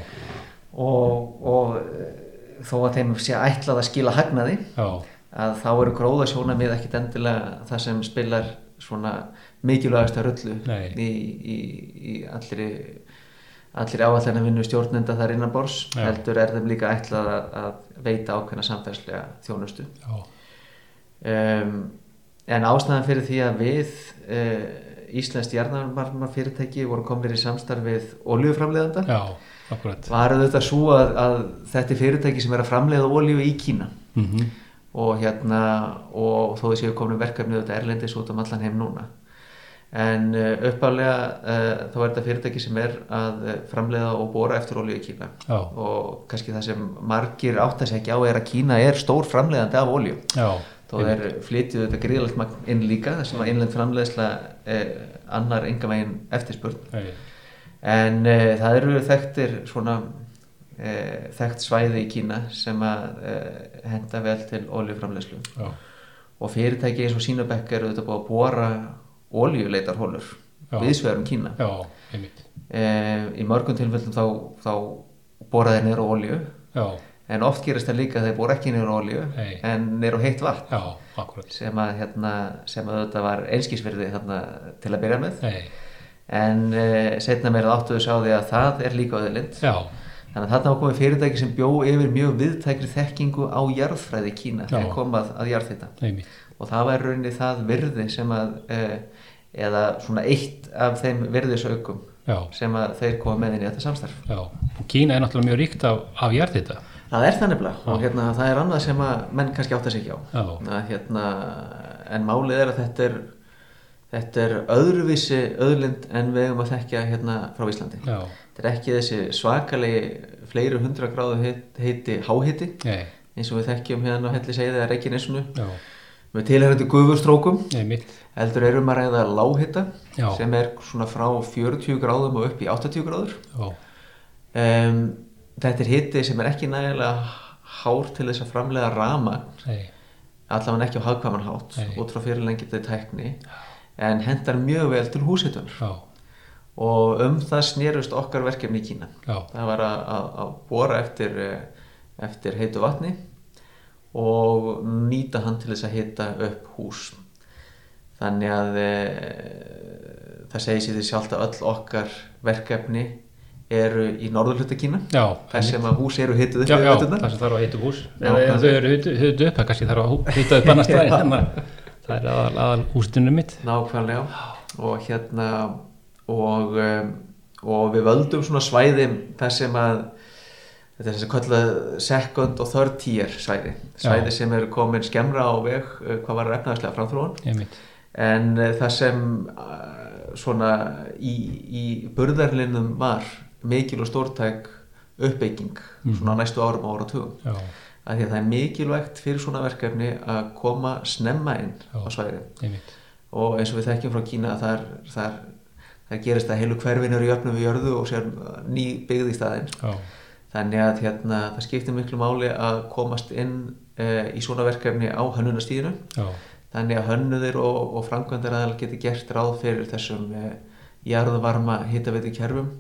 [SPEAKER 3] og, og eh, þó að þeim sé ætlað að skila hagnaði
[SPEAKER 1] já
[SPEAKER 3] að þá eru gróðasjónamið ekkit endilega það sem spilar svona mikilvægasta rullu
[SPEAKER 1] Nei.
[SPEAKER 3] í, í, í allri allir áallan vinnu stjórnenda þar innan bors
[SPEAKER 1] Já.
[SPEAKER 3] heldur er þeim líka ætlað að, að veita ákveðna samfærslega þjónustu
[SPEAKER 1] já,
[SPEAKER 3] um, en ástæðan fyrir því að við uh, Íslands jarnarmarma fyrirtæki voru komnir í samstarfið oljuframleiðanda
[SPEAKER 1] já, akkurat
[SPEAKER 3] var auðvitað svo að, að þetta er fyrirtæki sem er að framleiða olíu í Kína
[SPEAKER 1] mm -hmm.
[SPEAKER 3] og hérna og þó þessi við komum verkefni auðvitað erlendis út um allan heim núna en uh, uppálega uh, þá er þetta fyrirtæki sem er að eh, framleiða og bóra eftir olíu í Kína
[SPEAKER 1] Já.
[SPEAKER 3] og kannski það sem margir átta sig ekki á er að Kína er stór framleiðandi af olíu
[SPEAKER 1] já,
[SPEAKER 3] þó þeir flytjuðu þetta gríðalegt magn inn líka þar sem að innlend framleiðsla eh, annar enga megin eftirspurn
[SPEAKER 1] nei,
[SPEAKER 3] En uh, það eru þekktir svona uh, þekkt svæði í Kína sem að uh, henda vel til oljuframleyslu
[SPEAKER 1] já,
[SPEAKER 3] og fyrirtæki eins og Sinopec eru þetta búið að bóra oljuleitarhólur
[SPEAKER 1] Já.
[SPEAKER 3] viðsvegar um Kína.
[SPEAKER 1] já, einmitt
[SPEAKER 3] Uh, í mörgum tilfellum þá, þá bóra þeir neyra olju
[SPEAKER 1] já,
[SPEAKER 3] en oft gerist það líka að þeir bóra ekki neyra olju
[SPEAKER 1] Nei.
[SPEAKER 3] en neyra heitt vatn
[SPEAKER 1] já, akkurat
[SPEAKER 3] sem að, hérna, sem að þetta var einskísverði þarna til að byrja með.
[SPEAKER 1] nei,
[SPEAKER 3] en e, setna meira áttuðu sá því að það er líka auðlind
[SPEAKER 1] já,
[SPEAKER 3] þannig að þarna var komið fyrirtæki sem bjó yfir mjög viðtækri þekkingu á jarðfræði Kína
[SPEAKER 1] Já.
[SPEAKER 3] þegar komað að jarðhita
[SPEAKER 1] einmitt,
[SPEAKER 3] og það var í rauninni það virði sem að e, eða svona eitt af þeim virðisaukum
[SPEAKER 1] já,
[SPEAKER 3] sem að þeir koma með inn í þetta samstarf
[SPEAKER 1] já. Og Kína er náttúrulega mjög ríkt af, af jarðhita.
[SPEAKER 3] Það er það nefnilega og hérna, það er annað sem að menn kannski átta sig ekki á
[SPEAKER 1] Já.
[SPEAKER 3] að, hérna, en málið er að þetta er, þetta er öðruvísi öðlind en við eigum að þekkja hérna frá Íslandi
[SPEAKER 1] Já,
[SPEAKER 3] Þetta er ekki þessi svakalegi fleiri hundra gráðu heit- heiti háhiti
[SPEAKER 1] nei,
[SPEAKER 3] eins og við þekkjum hérna á helli segið eða reikinesunu
[SPEAKER 1] já,
[SPEAKER 3] með tilhærandi gufustrókum
[SPEAKER 1] einmitt,
[SPEAKER 3] heldur erum að ræða láhita
[SPEAKER 1] Já.
[SPEAKER 3] sem er svona frá 40 gráðum og upp í 80 gráður
[SPEAKER 1] já,
[SPEAKER 3] um, Þetta er hiti sem er ekki nægilega hár til þess að framlega rama
[SPEAKER 1] nei,
[SPEAKER 3] allavega ekki á hagkvæman hátt
[SPEAKER 1] Nei.
[SPEAKER 3] út frá fyrirlengið tækni en hendar mjög vel til húshitunar
[SPEAKER 1] já,
[SPEAKER 3] og um það snerust okkar verkefni í Kína
[SPEAKER 1] já,
[SPEAKER 3] það var að, að, að bóra eftir, eh, eftir heitu vatni og nýta hann til þess að hita upp hús þannig að e, það segir sér því sjálft að öll okkar verkefni eru í norðurhluta Kína
[SPEAKER 1] já,
[SPEAKER 3] þar sem að hús eru hitið upp
[SPEAKER 1] já,
[SPEAKER 3] yfir
[SPEAKER 1] já,
[SPEAKER 3] veturna.
[SPEAKER 1] það sem þarf að hita upp hús.
[SPEAKER 3] Já,
[SPEAKER 1] Eða ef
[SPEAKER 3] það-
[SPEAKER 1] þau eru hita upp, það kannski þarf að hú- hita upp
[SPEAKER 3] <laughs>
[SPEAKER 1] annars staðin, þannig að það er aðal, aðal hústunum mitt.
[SPEAKER 3] Nákvæmlega og hérna og, um, og við völdum svona svæði þar sem að þetta er þess að kalla second og third tier svæði svæði sem eru komin skemmra á veg uh, hvað var efnaðislega framþróun
[SPEAKER 1] Einmitt,
[SPEAKER 3] en uh, það sem uh, svona í, í burðarlinum var mikil og stórtæk uppbygging svona á næstu árum og áratugum
[SPEAKER 1] já,
[SPEAKER 3] að því að það er mikilvægt fyrir svona verkefni að koma snemma inn
[SPEAKER 1] Já.
[SPEAKER 3] á svæðið
[SPEAKER 1] einmitt,
[SPEAKER 3] og eins og við þekkjum frá Kína þar, þar, þar gerist að heilu hverfin eru jöfnum við jörðu og sér ný byggð í staðinn
[SPEAKER 1] já,
[SPEAKER 3] þannig að hérna, það skiptir miklu máli að komast inn e, í svona verkefni á hönnunastíðinu
[SPEAKER 1] já,
[SPEAKER 3] þannig að hönnuðir og, og framkvæmdaraðal geti gert ráð fyrir þessum e, jarðvarma hitaveitu kerfum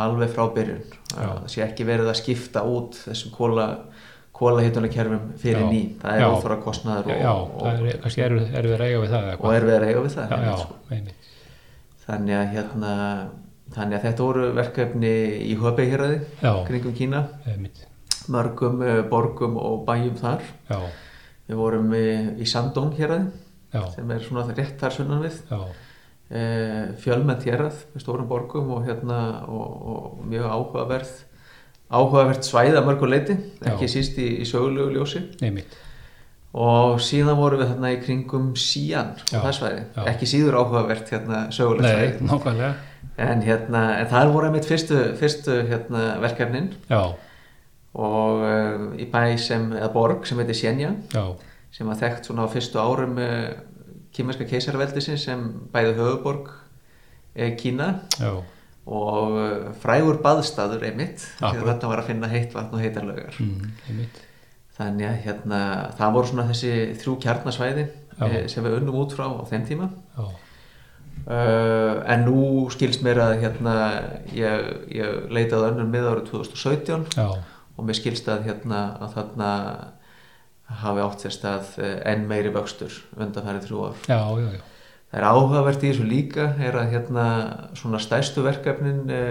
[SPEAKER 3] alveg frá byrjun
[SPEAKER 1] Já.
[SPEAKER 3] það sé ekki verið að skipta út þessum kóla kóla hitunarkerfum
[SPEAKER 1] Já.
[SPEAKER 3] fyrir ný það er
[SPEAKER 1] Já.
[SPEAKER 3] óþvara kostnaður
[SPEAKER 1] já,
[SPEAKER 3] og,
[SPEAKER 1] já,
[SPEAKER 3] og,
[SPEAKER 1] það er kannski erfið erfið að eiga við það eða
[SPEAKER 3] og
[SPEAKER 1] hvað.
[SPEAKER 3] er verið að eiga við það
[SPEAKER 1] Já,
[SPEAKER 3] einmitt,
[SPEAKER 1] já,
[SPEAKER 3] sko.
[SPEAKER 1] einmitt,
[SPEAKER 3] Þannig að hérna þannig að þetta voru verkefni í Höbeiheraði,
[SPEAKER 1] Já.
[SPEAKER 3] kringum Kína
[SPEAKER 1] einmitt,
[SPEAKER 3] mörgum eh, borgum og bæjum þar
[SPEAKER 1] já,
[SPEAKER 3] við vorum eh, í Sandong heraði
[SPEAKER 1] já,
[SPEAKER 3] sem er svona rétt þar sunnan við
[SPEAKER 1] já,
[SPEAKER 3] eh, fjölmennt herað með stórum borgum og hérna og, og mjög áhugaverð áhugavert svæði að mörgu leiti ekki síst í, í sögulegu ljósi
[SPEAKER 1] einmitt,
[SPEAKER 3] og síðan vorum við þarna í kringum Sían og
[SPEAKER 1] Já.
[SPEAKER 3] það svæði,
[SPEAKER 1] Já.
[SPEAKER 3] ekki síður áhugavert hérna sögulegt
[SPEAKER 1] nei,
[SPEAKER 3] svæði
[SPEAKER 1] nákvæmlega,
[SPEAKER 3] En hérna, en það voru einmitt fyrstu, fyrstu hérna, verkefnin
[SPEAKER 1] já,
[SPEAKER 3] og uh, í bæ sem, eða borg sem heitir Sjenja
[SPEAKER 1] já,
[SPEAKER 3] sem að þekkt svona á fyrstu árum uh, kýmerska keisarveldisinn sem bæði höfuborg uh, Kína
[SPEAKER 1] já,
[SPEAKER 3] og uh, frægur baðstaður einmitt því að
[SPEAKER 1] Akkurat.
[SPEAKER 3] þarna var að finna heitt vatn og heitar laugar.
[SPEAKER 1] mm, einmitt,
[SPEAKER 3] Þannig að hérna, það voru svona þessi þrjú kjarnasvæði
[SPEAKER 1] Já.
[SPEAKER 3] uh, sem við unnum út frá á þeim tíma.
[SPEAKER 1] já,
[SPEAKER 3] Uh, en nú skilst mér að hérna, ég, ég leitaði önnur mið árið 2017
[SPEAKER 1] já,
[SPEAKER 3] og mér skilst að, hérna, að þarna hafi átt sér stað eh, enn meiri vöxtur undanfærið þrjú ár.
[SPEAKER 1] já, já, já,
[SPEAKER 3] Það er áhugavert í þessu líka er að hérna, svona stæstu verkefnin e,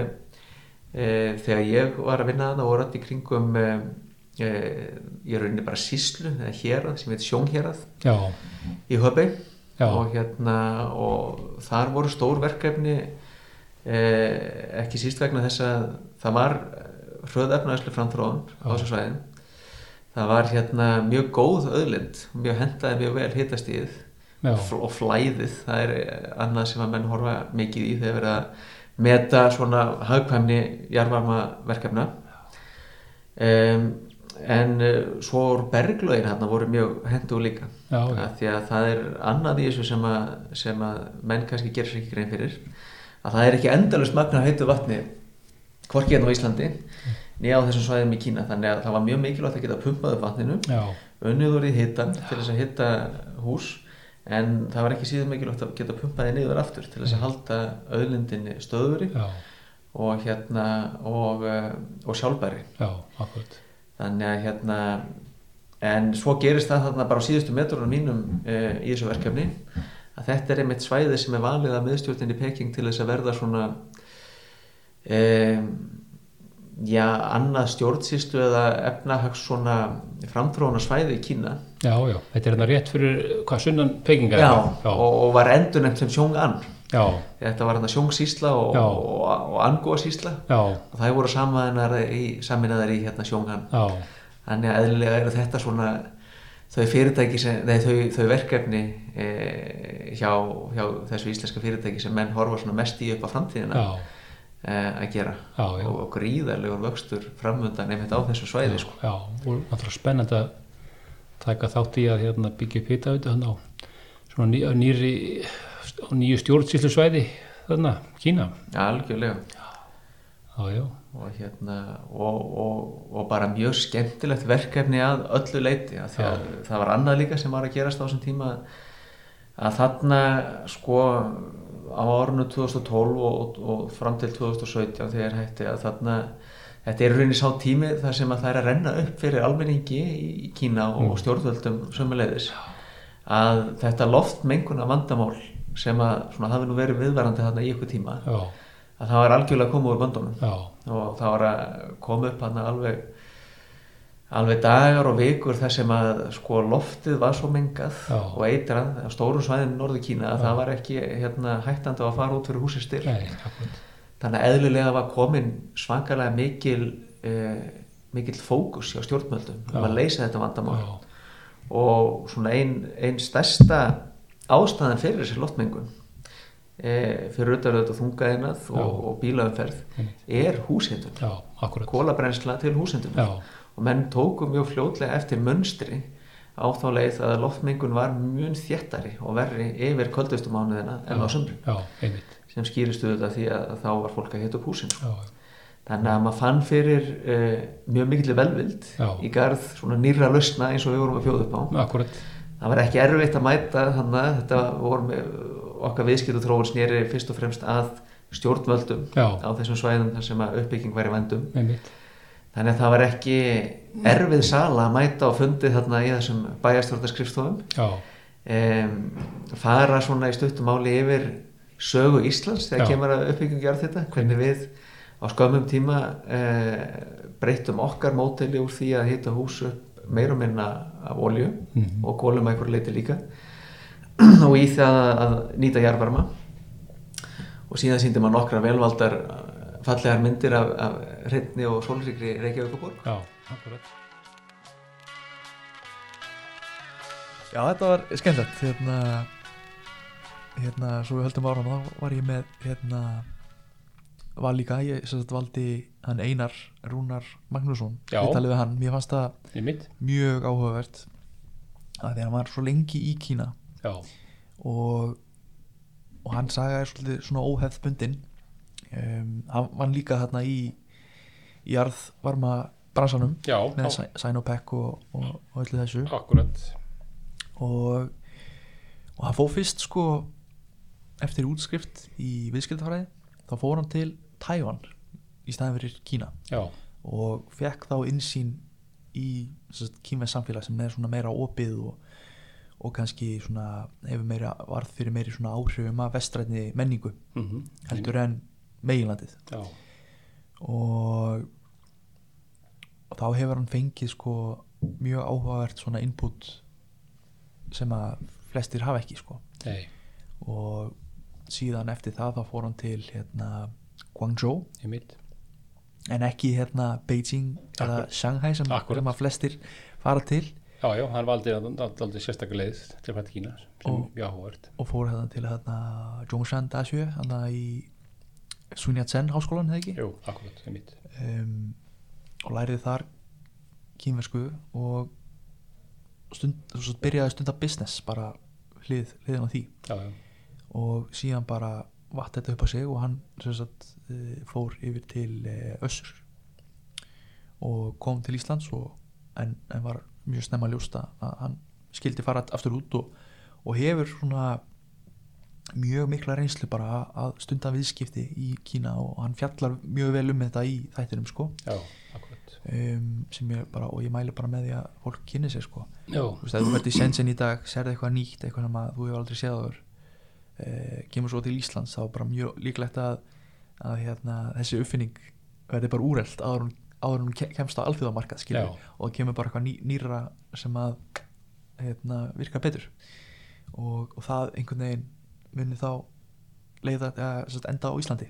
[SPEAKER 3] e, þegar ég var að vinna þarna voru alltaf í kringum e, e, ég er rauninni bara síslu eða hérað sem heit sjónhérað
[SPEAKER 1] já,
[SPEAKER 3] í Höbei
[SPEAKER 1] Já.
[SPEAKER 3] og hérna og þar voru stór verkefni eh, ekki síst vegna þess að það var hröðefnaðislu framþróun á þessu svæðin það var hérna mjög góð öðlind mjög hendaði mjög vel hitastíð
[SPEAKER 1] Já.
[SPEAKER 3] fl- og flæðið það er eh, annað sem að menn horfa mikið í þegar verið að meta svona hagkvæmni jarvarma verkefna um, en eh, svo voru berglögin hérna voru mjög hendu líka
[SPEAKER 1] Já, já.
[SPEAKER 3] Að því að það er annað í þessu sem að, sem að menn kannski gerir sér ekki grein fyrir að það er ekki endalust magna af heitu vatni hvorki hérna á Íslandi nýja á þessum svæðum í Kína þannig að það var mjög mikilvægt að geta pumpað upp vatninu
[SPEAKER 1] já,
[SPEAKER 3] unnið úr í hitan til þess að hitta hús en það var ekki síður mikilvægt að geta pumpaði niður aftur til þess að halda auðlindinni stöðuri
[SPEAKER 1] já,
[SPEAKER 3] og hérna og, eh, og sjálfbæri
[SPEAKER 1] já, akkurat,
[SPEAKER 3] þannig að hérna en svo gerist það þarna bara á síðustu metrunum mínum e, í þessu eh, verkefni að þetta er einmitt svæði sem er valið að miðstjórninni Peking til þess að verða svona um, já, annað stjórnsýstu eða efnahags svona framtróna svæði í Kína
[SPEAKER 1] já, já, þetta er hérna rétt fyrir hvað sunnan pekingar
[SPEAKER 3] og, og var endurnemt sem Sjóngan
[SPEAKER 1] já,
[SPEAKER 3] þetta var hann að Sjóngsísla og,
[SPEAKER 1] Já.
[SPEAKER 3] og, og Angóasísla
[SPEAKER 1] já,
[SPEAKER 3] og það voru samanæðar í, saminæðar í hérna Sjóngan
[SPEAKER 1] já,
[SPEAKER 3] Þannig að eðlilega eru þetta svona þau fyrirtæki sem, nei þau, þau verkefni e, hjá, hjá þessu íslenska fyrirtæki sem menn horfa svona mest í upp á framtíðina
[SPEAKER 1] já,
[SPEAKER 3] e, að gera
[SPEAKER 1] Já, já.
[SPEAKER 3] Hérna. og, og gríðarlegur vöxtur framöndan einmitt á þessu svæði sko.
[SPEAKER 1] já, og náttúrulega spennandi að taka þátt í að hérna, byggja upp hita auðvitað hann á svona ný, á nýri, á nýju stjórnsýslu svæði þarna, Kína,
[SPEAKER 3] algjörlega
[SPEAKER 1] já, já,
[SPEAKER 3] og hérna og, og, og bara mjög skemmtilegt verkefni að öllu leiti að því að það var annað líka sem var að gerast á þessum tíma að þarna sko á árunum 2012 og, og fram til 2017 þegar hætti að þarna þetta er í rauninni sá tími þar sem að það er að renna upp fyrir almenningi í, í Kína og stjórnvöldum sömuleiðis að þetta loftmenguna vandamál sem að svona, hafi nú verið viðvarandi þarna í ykkur tíma
[SPEAKER 1] já,
[SPEAKER 3] að það var algjörlega að koma úr bandunum
[SPEAKER 1] já,
[SPEAKER 3] og það var að koma upp hann alveg alveg dagar og vikur þar sem að sko loftið var svo mengað
[SPEAKER 1] Já.
[SPEAKER 3] og eitrað á stórum svæðinu norðu Kína að það var ekki hérna, hættandi að fara út fyrir húsið styr
[SPEAKER 1] nei, akkurat,
[SPEAKER 3] þannig að eðlulega var komin svakalega mikil eh, mikil fókus hjá stjórnmöldum um að leysa þetta vandamál
[SPEAKER 1] já,
[SPEAKER 3] og svona ein, ein stærsta ástæðan fyrir þessi loftmengun e, fyrir auðvitað auðvitað þungaðinað og, og bílaumferð er húshetun
[SPEAKER 1] já, akkurat,
[SPEAKER 3] kólabrensla til húshetun
[SPEAKER 1] já,
[SPEAKER 3] og menn tóku mjög fljótlega eftir mönstri á þá leið að loftmengun var mjög þéttari og verri yfir köldustu mánuðina en á sömru
[SPEAKER 1] já, einmitt,
[SPEAKER 3] sem skýristu auðvitað því að þá var fólk að hita upp húsin sko.
[SPEAKER 1] já,
[SPEAKER 3] þannig að maður fann fyrir uh, mjög mikill velvild
[SPEAKER 1] Já.
[SPEAKER 3] í garð svona nýra lausna eins og við vorum að fjóða upp á
[SPEAKER 1] akkurat,
[SPEAKER 3] það var ekki erfitt að mæta þannig að þetta voru með okkar viðskipt og þróun snýri fyrst og fremst að stjórnvöldum
[SPEAKER 1] Já.
[SPEAKER 3] á þessum svæðum þar sem að uppbygging væri vendum
[SPEAKER 1] einmitt,
[SPEAKER 3] þannig að það var ekki erfið sala að mæta og fundi þarna í þessum bæjarstjórnarskrifstofum
[SPEAKER 1] já,
[SPEAKER 3] um, fara svona í stuttum máli yfir sögu Íslands þegar
[SPEAKER 1] Já.
[SPEAKER 3] kemur að uppbyggingu gjörð þetta, hvernig við á skömmum tíma uh, breyttum okkar mótili úr því að hita hús upp meir og minna af olju og kólum að einhverju leiti líka <clears throat> og í það að nýta jarðvarma og síðan síndi maður nokkra velvaldar eh, fallegar myndir af, af hreitni og sólrikri Reykjavíkuborg
[SPEAKER 1] já, akkurat,
[SPEAKER 2] Já, þetta var skemmtilegt hérna, hérna, svo við höldum áram þá var ég með hérna, var líka, ég sem sagt valdi hann Einar Rúnar Magnússon
[SPEAKER 1] Já.
[SPEAKER 2] við talið við hann, mér fannst það
[SPEAKER 1] einmitt,
[SPEAKER 2] mjög áhugavert að því að hann var svo lengi í Kína
[SPEAKER 1] já,
[SPEAKER 2] og, og hann saga er svolítið svona óhefðbundin um, hann var líka þarna í í jarðvarma bransanum
[SPEAKER 1] já,
[SPEAKER 2] með
[SPEAKER 1] já,
[SPEAKER 2] Sino- Sinopec og, og, og öllu þessu
[SPEAKER 1] akkurat,
[SPEAKER 2] og, og hann fór fyrst sko eftir útskrift í viðskiptafræði þá fór hann til Tævan í staðin fyrir Kína
[SPEAKER 1] já,
[SPEAKER 2] og fekk þá innsýn í kýmveð samfélag sem er svona meira opið og, og kannski svona hefur meira varð fyrir meiri svona áhrifum af vestrætni menningu
[SPEAKER 1] mhm,
[SPEAKER 2] heldur en meginlandið
[SPEAKER 1] já,
[SPEAKER 2] og, og þá hefur hann fengið sko mjög áhugavert svona input sem að flestir hafa ekki sko
[SPEAKER 1] nei,
[SPEAKER 2] og síðan eftir það þá fór hann til hérna Guangzhou
[SPEAKER 1] einmitt,
[SPEAKER 2] en ekki hérna Beijing eða Shanghai sem,
[SPEAKER 1] Akkúrat.
[SPEAKER 2] sem að flestir fara til
[SPEAKER 1] já, já, hann valdi aldrei sérstaklega leið til að fæta Kína, sem, já, hóvert,
[SPEAKER 2] og fór hérna til hérna Zhongshan Dashue hérna í Sun Yat-sen háskólan hefði ekki
[SPEAKER 1] jú, akkurat, einmitt,
[SPEAKER 2] um, og lærið þar kínversku og stund, svo byrjaði að stunda business bara hlið, hliðin á því
[SPEAKER 1] já, já,
[SPEAKER 2] og síðan bara vatt þetta upp á sig og hann sem sagt eh, fór yfir til eh, Össur og kom til Íslands og, en, en var mjög snemma að ljósta að hann skildi fara aftur út og, og hefur svona mjög mikla reynslu bara að stunda viðskipti í Kína og hann fjallar mjög vel um þetta í þættinum sko
[SPEAKER 1] já, akkurat,
[SPEAKER 2] um, sem ég bara, og ég mæli bara með því að fólk kynni sér sko,
[SPEAKER 1] já,
[SPEAKER 2] þú veist, ef þú verður í sensin í dag, serði eitthvað nýtt, eitthvað sem að þú hefur aldrei séð áður eh, kemur svo til Íslands þá er bara mjög líklegt að, að hérna, þessi uppfinning verði bara úrelt áður hún, áður hún ke- kemst á alþjóðamarkað skilur
[SPEAKER 1] Já.
[SPEAKER 2] og það kemur bara eitthvað ný, nýra sem að hérna, virka betur og, og það einhvern veginn muni þá leiða að, að enda á Íslandi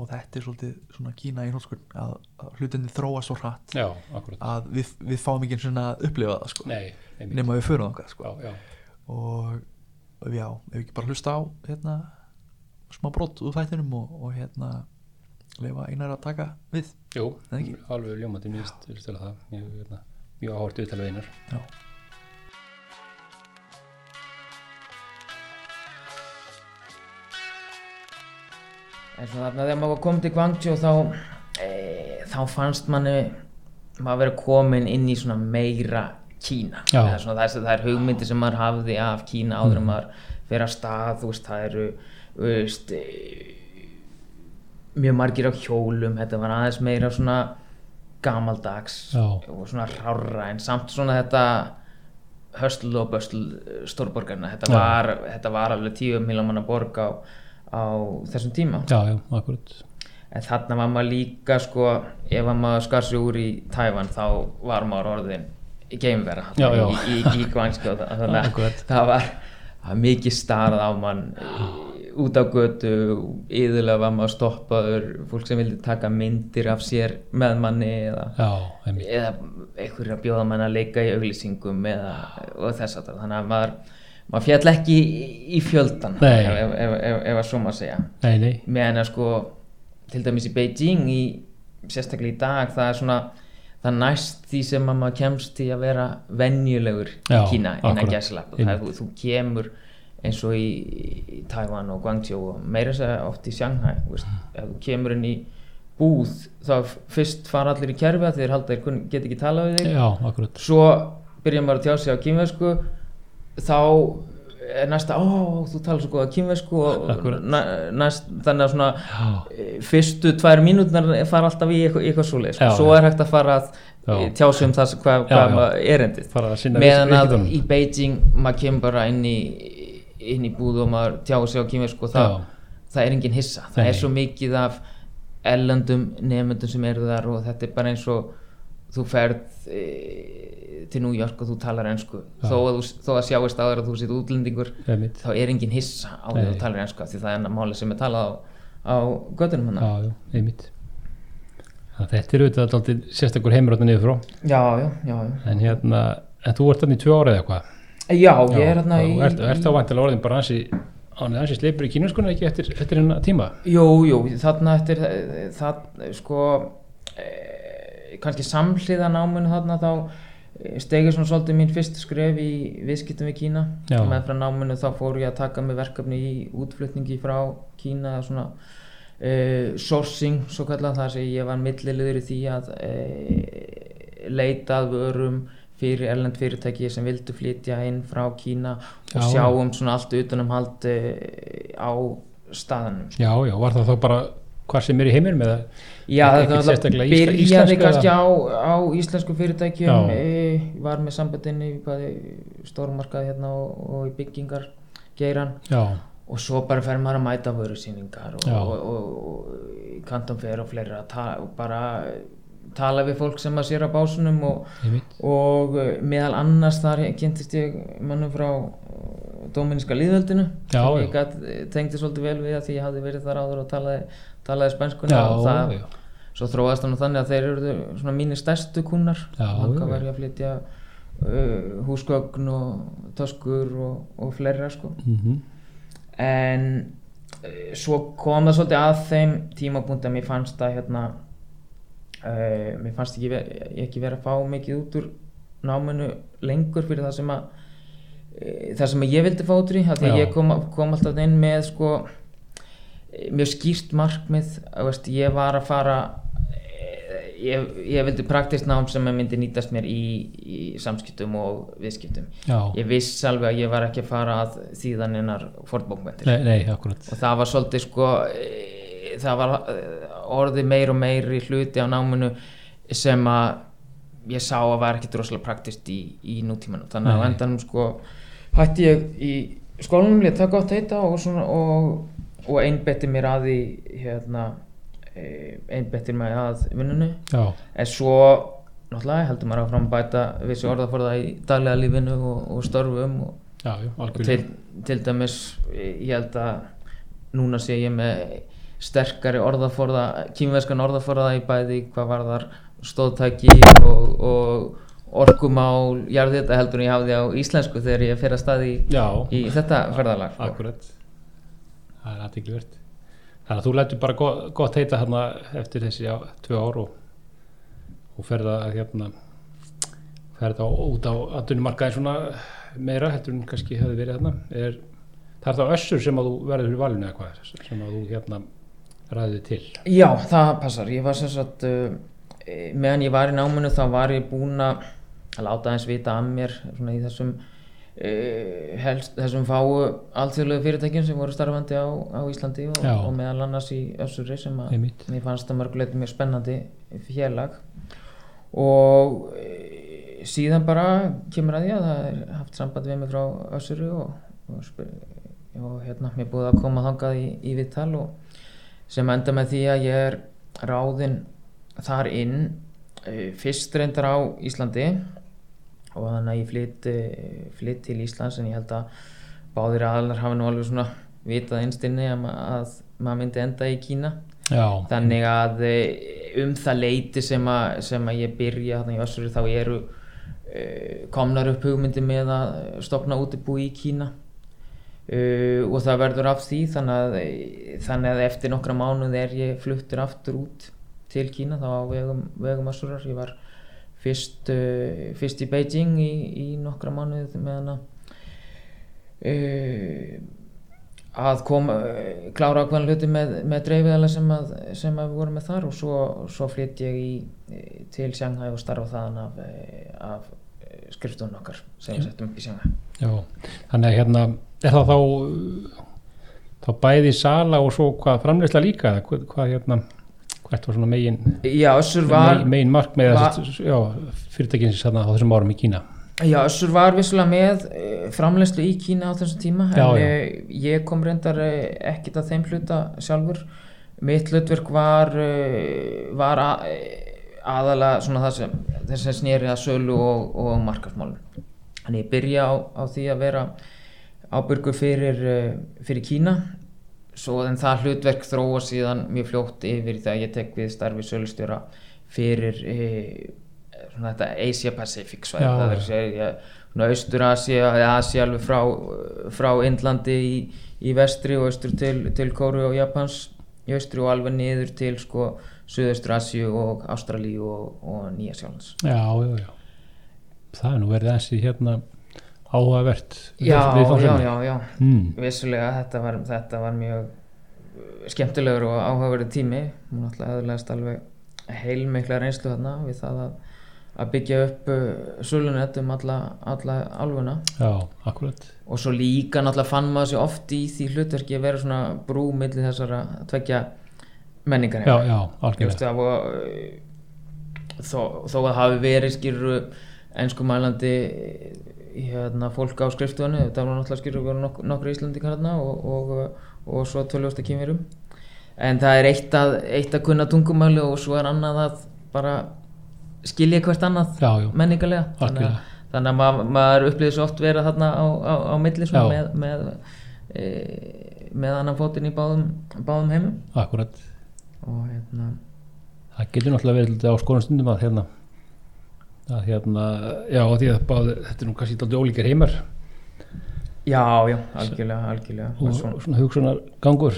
[SPEAKER 2] og þetta er svolítið svona kína í hólskun að, að hlutinni þróa svo hratt
[SPEAKER 1] já, akkurat
[SPEAKER 2] að við, við fáum ekki eins og að upplifa það sko
[SPEAKER 1] nei, einmitt.
[SPEAKER 2] nema við förum þangað sko
[SPEAKER 1] já, já,
[SPEAKER 2] og og já, ef við ekki bara hlusta á hérna, smá brot úr þættinum og, og hérna leifa einar að taka við
[SPEAKER 1] jú,
[SPEAKER 2] Nei, ekki.
[SPEAKER 1] alveg ljómandi mjög stila það, mjög, hérna, mjög áhort viðtal við einar
[SPEAKER 2] já.
[SPEAKER 4] En svona þarna þegar maður kom til Guangzhou þá, e, þá fannst manni maður verið komin inn í svona meira Kína.
[SPEAKER 1] Já. Mm.
[SPEAKER 4] Eða Svona, það, er, það er hugmyndi sem maður hafði af Kína áður en maður fer að stað, þú veist, það eru, þú veist, e, mjög margir á hjólum, þetta var aðeins meira svona gamaldags
[SPEAKER 1] Já.
[SPEAKER 4] og svona rárra en samt svona þetta höstl og böstl stórborgarna, þetta,
[SPEAKER 1] Já.
[SPEAKER 4] var, þetta var alveg tíu miljómanna borg á, á þessum tíma
[SPEAKER 1] já, já, akkurat
[SPEAKER 4] en þarna var maður líka sko, ef að maður skar sig úr í Tævan þá var maður orðin í geimvera
[SPEAKER 1] Já, já.
[SPEAKER 4] í, í, í Gvansk og það, þannig að
[SPEAKER 1] Akkurat.
[SPEAKER 4] það var það var mikið starð á mann í- út á götu, yðurlega var maður stoppaður, fólk sem vildi taka myndir af sér með manni eða
[SPEAKER 1] já, einmitt,
[SPEAKER 4] eða einhverjir að bjóða mann að leika í auglýsingum eða, og þess að þannig að maður, maður fjall ekki í, í fjöldan
[SPEAKER 1] Nei.
[SPEAKER 4] ef, ef, ef, ef, ef að svo maður segja
[SPEAKER 1] nei, nei
[SPEAKER 4] meðan að sko til dæmis í Beijing í, sérstaklega í dag það er svona það næst því sem að maður kemst í að vera venjulegur í
[SPEAKER 1] Já,
[SPEAKER 4] Kína innan
[SPEAKER 1] akkurat.
[SPEAKER 4] gæslapp það er þú, þú kemur eins og í, í Taiwan og Guangzhou og meira þess að segja oft í Shanghai þú
[SPEAKER 1] Mm.
[SPEAKER 4] veist, ef þú kemur inn í búð þá f- fyrst fara allir í kerfi að þeir halda þeir kunn- geta ekki talað við þig
[SPEAKER 1] já, akkurat,
[SPEAKER 4] svo byrjar maður að tjá sig á kínvesku þá er næsta ó, þú talar svo góða kínvesku og
[SPEAKER 1] <laughs> Akkúrat.
[SPEAKER 4] næ- næst, þannig að svona
[SPEAKER 1] já,
[SPEAKER 4] eh, fyrstu tvær mínútnar fara alltaf í eitthvað, eitthvað svoleið sko.
[SPEAKER 1] Já,
[SPEAKER 4] svo
[SPEAKER 1] já.
[SPEAKER 4] er hægt að fara að
[SPEAKER 1] Já.
[SPEAKER 4] já. tjá sig um það sem- hvað,
[SPEAKER 1] Já, já.
[SPEAKER 4] hvað maður er endið
[SPEAKER 1] Fara að sinna
[SPEAKER 4] meðan að
[SPEAKER 1] viðskiptunum.
[SPEAKER 4] í Beijing maður kemur bara inn í, inn í búð og maður tjá sig á kínvesku og það,
[SPEAKER 1] Já.
[SPEAKER 4] það er engin hissa það
[SPEAKER 1] Nei.
[SPEAKER 4] er svo mikið af ellendum nefndum sem eru þar og þetta er bara eins og þú ferð e, til New York og þú talar ensku
[SPEAKER 1] Já.
[SPEAKER 4] þó að, þú- þó að sjáist áður að þú sétt útlendingur
[SPEAKER 1] einmitt
[SPEAKER 4] þá er engin hissa á því að
[SPEAKER 1] Nei.
[SPEAKER 4] þú talar ensku af því það er enn máli sem er talað á, á hérna. göttunum hann
[SPEAKER 1] já, já, einmitt Þannig að þetta er auðvitað alltaf sérstakur heimur hérna niður frá
[SPEAKER 4] já, já, já, já.
[SPEAKER 1] en hérna, en þú ert þannig í tvö ára eða eitthvað
[SPEAKER 4] já, ég er hérna
[SPEAKER 1] Já,
[SPEAKER 4] í
[SPEAKER 1] þú ert, ert þá vantilega orðin bara hansi hann er hansi sleipur í kínuskunna ekki eftir, eftir hérna tíma
[SPEAKER 4] jú, jú, þarna eftir eh, það, sko e, kannski samhliða náminu þarna þá stegið svona svolítið mín fyrstu skref í viðskiptum við Kína
[SPEAKER 1] Já.
[SPEAKER 4] með frá náminu þá fór ég að taka með verkefni í útflutningi frá Kína eða svona uh, sourcing svo kallað þar sem ég var milliliður í því að uh, leita að vörum fyrir erlend fyrirtæki sem vildu flytja inn frá Kína og
[SPEAKER 1] Já.
[SPEAKER 4] sjáum svona allt utanum hald uh, á staðanum
[SPEAKER 1] já, já, var það þá bara hvar sem er í heiminum eða
[SPEAKER 4] Já,
[SPEAKER 1] Ekki
[SPEAKER 4] þetta var
[SPEAKER 1] sérstaklega
[SPEAKER 4] náttúrulega
[SPEAKER 1] ísla-
[SPEAKER 4] byrjaði
[SPEAKER 1] íslensku
[SPEAKER 4] kannski á, á íslensku fyrirtækjum,
[SPEAKER 1] Já.
[SPEAKER 4] e, var með sambandinni í bæði stórmarkaði hérna og, og í byggingar geiran
[SPEAKER 1] já,
[SPEAKER 4] og svo bara fer maður að mæta vörusýningar og,
[SPEAKER 1] Já.
[SPEAKER 4] og, og, og í kantum fer og fleira að ta, og bara tala við fólk sem að sér á básunum og,
[SPEAKER 1] einmitt
[SPEAKER 4] og eh, meðal annars þar kynntist ég mannum frá eh, Dóminíska líðveldinu
[SPEAKER 1] Já,
[SPEAKER 4] sem
[SPEAKER 1] já.
[SPEAKER 4] ég gat, e, tengdi svolítið vel við að því ég hafði verið þar áður og talaði, talaði spenskuna
[SPEAKER 1] já,
[SPEAKER 4] og það,
[SPEAKER 1] já,
[SPEAKER 4] svo þróaðist hann þannig að þeir eru svona mínir stærstu kúnar
[SPEAKER 1] Já,
[SPEAKER 4] hann
[SPEAKER 1] já.
[SPEAKER 4] var ég að flytja uh, húsgögn og töskur og, og fleira sko
[SPEAKER 1] mhm,
[SPEAKER 4] en uh, svo kom það svolítið að þeim tímapunkt að mér fannst að hérna uh, mér fannst ekki, ver, ekki vera að fá mikið út úr náminu lengur fyrir það sem að eh, það sem að ég vildi fá út úr í af því að
[SPEAKER 1] Já.
[SPEAKER 4] ég kom, kom alltaf inn með sko eh, mjög skýrt markmið að veist, ég var að fara eh, ég, ég vildi praktist nám sem að myndi nýtast mér í, í samskiptum og viðskiptum
[SPEAKER 1] já,
[SPEAKER 4] ég viss alveg að ég var ekki að fara að þýðan innar fordbókmyndir
[SPEAKER 1] nei, nei, akkurat
[SPEAKER 4] og það var svolítið sko eh, það var eh, orðið meir og meiri hluti á náminu sem að ég sá að var ekkit rosalega praktist í, í nútímanum þannig að á
[SPEAKER 1] Nei.
[SPEAKER 4] endanum sko hætti ég í skólanum létt það gott heita og, svona, og, og einbetti mér að því hérna, eh, einbetti mér að vinnunni
[SPEAKER 1] já,
[SPEAKER 4] en svo náttúrulega heldur maður áfram að bæta vissi orðaforða í daglega lífinu og, og störfum og,
[SPEAKER 1] já, já,
[SPEAKER 4] og
[SPEAKER 1] algjörlega
[SPEAKER 4] til, til dæmis eh, ég held að núna sé ég með sterkari orðaforða kýmverskan orðaforða í bæði hvað var þar stóðtæki og, og orkumál jarðhita heldur en ég hafði á íslensku þegar ég fer að staði í
[SPEAKER 1] Já,
[SPEAKER 4] í þetta ferðalag sko.
[SPEAKER 1] akkurat það er aðtíkluvert þannig að þú lætur bara gott, gott heita hérna eftir þessi á, tvö ár og, og ferða að hérna ferða á, út á atvinnumarkaðin svona meira heldur en kannski hefði verið hérna er, það er þá össur sem að þú verður fyrir valinu eða hvað sem að þú hérna ræðið til
[SPEAKER 4] Já, það passar, ég var sem sagt uh, eh, meðan ég var í náminu þá var ég búinn að láta aðeins vita að mér svona í þessum uh, helst, þessum fáu alþjóðlegu fyrirtækjum sem voru starfandi á, á Íslandi og,
[SPEAKER 1] Já.
[SPEAKER 4] og meðal annars í Össuri sem að
[SPEAKER 1] Einmitt.
[SPEAKER 4] mér fannst það mörguleiti mjög spennandi félag og eh, síðan bara kemur að því að það er haft samband við mig frá Össuri og, og, spyr, og hérna, mér búið að koma þangað í, í viðtal og sem enda með því að ég er ráðinn þar inn eh, fyrst reyndar á Íslandi og þannig að ég flytt, eh, flytt til Íslands en ég held að báðir aðalar hafi nú alveg svona vitað einstinni að, ma- að maður myndi enda í Kína
[SPEAKER 1] Já,
[SPEAKER 4] þannig að eh, um það leiti sem að, sem að ég byrja þannig að össur þá eru eh, komnar upp hugmyndi með að stopna útibú í Kína uh, og það verður af því þannig að, þannig að eftir nokkra mánuð er ég fluttur aftur út til Kína þá á vegum, vegum össurar ég var fyrst, uh, fyrst í Beijing í, í nokkra mánuð meðan að uh, að kom uh, klára ákveðan hluti með, með dreifiðala sem, að, sem að við vorum með þar og svo, svo flytt ég í, eh, til Sjanghæ og starfa þaðan af, eh, af eh, skriftunum okkar sem við settum upp í Sjanghæ
[SPEAKER 1] já, þannig að hérna er það þá uh, þá bæði sala og svo hvað framleysla líka eða hvað, hvað hérna hvert var svona megin
[SPEAKER 4] Já, Össur var
[SPEAKER 1] megin, megin mark með
[SPEAKER 4] var-
[SPEAKER 1] fyrirtækinn sem þarna á þessum árum í Kína
[SPEAKER 4] Já, Össur var vissulega með eh, framleiðslu í Kína á þessum tíma
[SPEAKER 1] Já,
[SPEAKER 4] en
[SPEAKER 1] já.
[SPEAKER 4] eh, ég kom reyndar eh, ekkert að þeim hluta sjálfur mitt hlutverk var eh, var að, aðalega svona það sem, það sem snýri að sölu og, og markarsmálum en ég byrja á, á því að vera ábyrgu fyrir, eh, fyrir Kína svo en það hlutverk þróa síðan mjög fljótt yfir þegar ég tek við starfi sölustjóra fyrir eh, svona þetta Asia Pacific svæði,
[SPEAKER 1] Já, já.
[SPEAKER 4] það er segja svona Austur-Asia eða Asia alveg frá, frá Indlandi í, í vestri og austur til, til Kóru og Japans í austri og alveg niður til sko Suðaustur-Asíu og Ástralíu og, og Nýja-Sjálfans
[SPEAKER 1] já, já, já það er nú verið aðeins í hérna áhugavert
[SPEAKER 4] Já, já,
[SPEAKER 1] viðfangsefni.
[SPEAKER 4] já, já
[SPEAKER 1] Mm,
[SPEAKER 4] vissulega þetta var, þetta var mjög uh, skemmtilegur og áhugaverið tími hún náttúrulega aðurlegast alveg heilmikla reynslu þarna við það að, að byggja upp uh, sölunett um alla, alla álfuna
[SPEAKER 1] já, akkurat
[SPEAKER 4] og svo líka náttúrulega fann maður sér oft í því hlutverki að vera svona brú milli þessara tvekja menningar
[SPEAKER 1] já, já, algjörlega
[SPEAKER 4] Jóstu, og, eh, þó, þó að hafi verið skýru enskumælandi eh, hérna, fólk á skriftunni þetta var náttúrulega skýru voru nok nokkur íslendingar hérna og, og, eh, og svo töljósta kýmverum en það er eitt að, eitt að kunna tungumæli og svo er annað að bara skilja hvert annað
[SPEAKER 1] Já, já.
[SPEAKER 4] menningarlega þannig að,
[SPEAKER 1] Algjörlega.
[SPEAKER 4] þannig að maður, maður upplýði svo oft vera þarna á, á, á milli svona
[SPEAKER 1] Já.
[SPEAKER 4] með, með, e, með annan fótinn í báðum, báðum heimum
[SPEAKER 1] akkurat,
[SPEAKER 4] og hérna
[SPEAKER 1] það getur náttúrulega verið lítið á stundum að hérna að hérna, já, því að báð, þetta er nú kannski dálítið ólíkir heimar
[SPEAKER 4] Já, já, algjörlega, algjörlega,
[SPEAKER 1] og
[SPEAKER 4] og svona,
[SPEAKER 1] svona, svona hugsunar gangur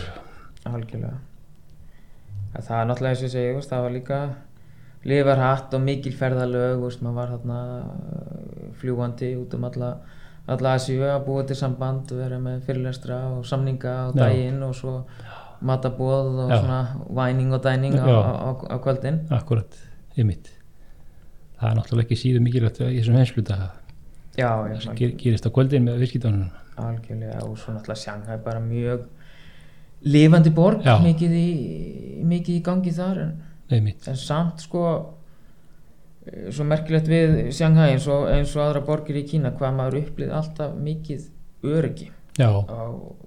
[SPEAKER 4] algjörlega. Að það er náttúrulega eins og ég segi, þú veist, það var líka lifar hatt og mikil ferðalög, þú veist, maður var þarna uh, fljúandi út um alla, alla Asíu að búa til samband, vera með fyrirlestra og samninga á
[SPEAKER 1] Já.
[SPEAKER 4] daginn og svo matabóð og
[SPEAKER 1] Já.
[SPEAKER 4] svona væning og dæning á,
[SPEAKER 1] Já.
[SPEAKER 4] á, á, á kvöldin.
[SPEAKER 1] akkurat, ymmit það er náttúrulega ekki síðu mikilvægt í þessum hensluta
[SPEAKER 4] Já, já,
[SPEAKER 1] sem ger- gerist á kvöldin með viðskiptunum
[SPEAKER 4] algjörlega og svo náttúrulega Shanghai bara mjög lifandi borg,
[SPEAKER 1] Já.
[SPEAKER 4] mikið í, mikið í gangi þar en
[SPEAKER 1] ymmit,
[SPEAKER 4] en samt sko eh, svo merkilegt við Shanghai eins og, eins og aðra borgir í Kína hvað maður upplýði alltaf mikið öryggi
[SPEAKER 1] já,
[SPEAKER 4] á,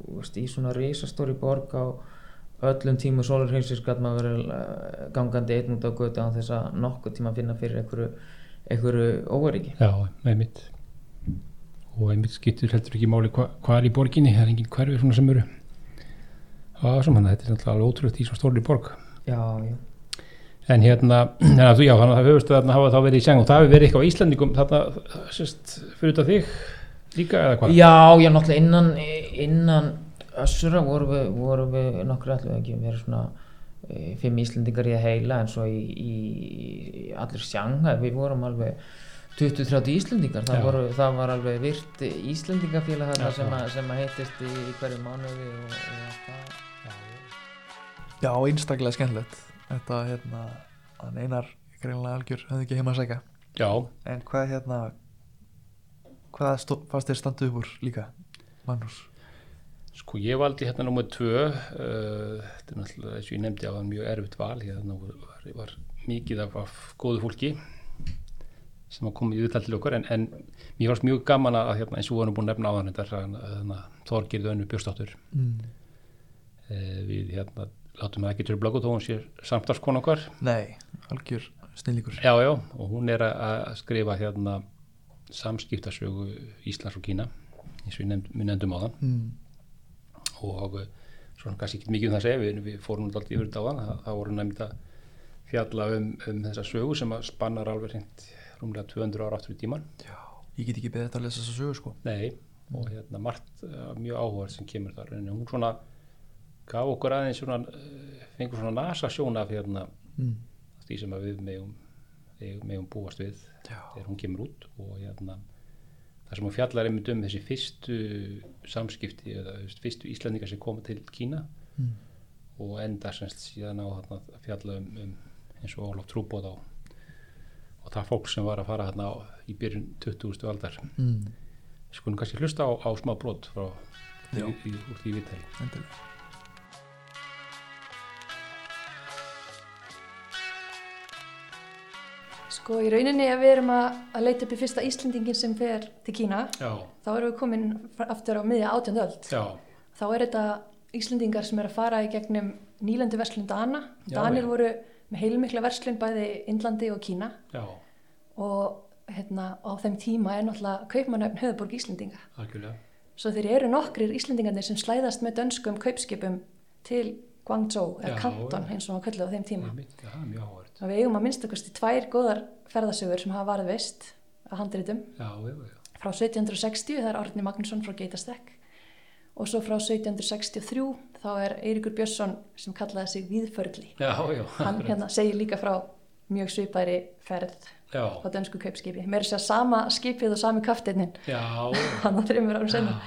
[SPEAKER 4] þú veist, í svona risastóri borg á öllum tímu sólarhengsins gæt maður verið eh, gangandi einn út á götu án þess að nokkuð tíma finna fyrir einhverju, einhverju óveriki
[SPEAKER 1] já, einmitt og einmitt skiptur heldur ekki máli hva, hvað er í borginni, það er engin hverfið svona sem eru það er sem hann, þetta er náttúrulega alveg ótrúlegt í svona stórri borg
[SPEAKER 4] já, já,
[SPEAKER 1] en hérna, <clears throat> þannig að þú já, þannig að það höfust að þarna hafa þá verið í sjang og það hafi verið eitthvað á Íslandingum þarna, sérst, fyrir þetta þig líka eða hvað?
[SPEAKER 4] já, já, náttúrulega innan innan össura vorum við, vorum við nokkru allir ekki við erum svona eh, fimm Íslendingar í að heila en svo í, í, í allir sjanga, við vorum alveg 20-30 Íslendingar, það,
[SPEAKER 1] Já.
[SPEAKER 4] voru, það var alveg virt Íslendingafélag þarna
[SPEAKER 1] Já,
[SPEAKER 4] sem,
[SPEAKER 1] já.
[SPEAKER 4] að- sem að heitist í, í hverju mánuði og, og það
[SPEAKER 2] Já, einstaklega skemmtilegt Þetta hérna, hann einar greinlega algjör hefði ekki heima að segja
[SPEAKER 1] Já,
[SPEAKER 2] En hvað hérna hvað stó, fannst þér standu upp úr líka Magnús?
[SPEAKER 1] sko ég valdi hérna nummer tvö uh, þetta er náttúrulega eins og ég nefndi á þann mjög erfitt val hérna var, var, var mikið af, af góðu fólki sem að koma í viðtal til okkar en, en mér varst mjög gaman að hérna, eins og við varum búin að nefna á þann þetta Þorgirðu önnu Björnsdóttur
[SPEAKER 2] Mm.
[SPEAKER 1] uh, við hérna látum það ekki til blöggu þó hún sé samtarskon okkar
[SPEAKER 2] Nei, algjör snillíkur
[SPEAKER 1] Já, já, og hún er að- að skrifa hérna samskiptasögu Íslands og Kína eins og við nefnd, við nefndum á þann
[SPEAKER 2] mm.
[SPEAKER 1] og eh, svona kannski ekki mikið um það að segja við, við fórum alltaf yfir þetta á þann það voru nefnd að fjalla um, um þessa sögu sem að spannar alveg hreint rúmlega 200 ára aftur í tíman
[SPEAKER 2] Ég get ekki beðið þetta að lesa þessa sögu sko
[SPEAKER 1] Nei, og hérna margt uh, mjög áhverð sem kemur þar en hún svona gaf okkur aðeins svona, uh, fengur svona nasa sjón af hérna
[SPEAKER 2] mm.
[SPEAKER 1] því sem að við megum, við megum búast við
[SPEAKER 2] Já,
[SPEAKER 1] þegar hún kemur út og hérna það sem hún fjallar einmitt um þessi fyrstu samskipti eða þú veist, fyrstu Íslandingar sem koma til Kína
[SPEAKER 2] Mm.
[SPEAKER 1] og enda semst síðan á þarna að fjalla um, um eins og Ólaf Trúbóð á og það fólk sem var að fara þarna á, í byrjun 20. aldar
[SPEAKER 2] mm.
[SPEAKER 1] skulum kannski hlusta á, á smá brot frá
[SPEAKER 2] Já.
[SPEAKER 1] í, í, úr því viðtæli
[SPEAKER 2] endilega
[SPEAKER 5] Sko í rauninni ef við erum að, að leita upp í fyrsta Íslendingin sem fer til Kína
[SPEAKER 1] Já,
[SPEAKER 5] þá erum við komin aftur á miðja átjöndu öld.
[SPEAKER 1] já,
[SPEAKER 5] Þá er þetta Íslendingar sem er að fara í gegnum nýlendu verslun Dana.
[SPEAKER 1] Já,
[SPEAKER 5] Danir
[SPEAKER 1] já.
[SPEAKER 5] voru með heilmikla verslun bæði Indlandi og Kína
[SPEAKER 1] já,
[SPEAKER 5] og hérna, á þeim tíma er náttúrulega kaupmannöfn höfðborg Íslendinga.
[SPEAKER 1] algjörlega
[SPEAKER 5] Svo þeir eru nokkrir Íslendingarnir sem slæðast með dönskum kaupskipum til Guangzhou eða
[SPEAKER 1] Já,
[SPEAKER 5] Kanton
[SPEAKER 1] já. Mhm.
[SPEAKER 5] eins og hann kallið á þeim tíma.
[SPEAKER 1] Einmitt, Já, það er mjög áhverð
[SPEAKER 5] Og við eigum að minnstakosti tvær góðar ferðasögur sem hafa varð veist að handritum
[SPEAKER 1] Já, já, já,
[SPEAKER 5] frá 1760, það er Árni Magnússon frá Geitastek og svo frá 1763 þá er Eiríkur Björnsson sem kallaði sig Víðförli.
[SPEAKER 1] já, já,
[SPEAKER 5] Hann hérna segir líka frá mjög svipæri ferð
[SPEAKER 1] já,
[SPEAKER 5] á dönsku kaupskipi. Mér er sér sama skipið og sami kaftinnin
[SPEAKER 1] já, já.
[SPEAKER 5] <laughs> hann á þreymur árum senna.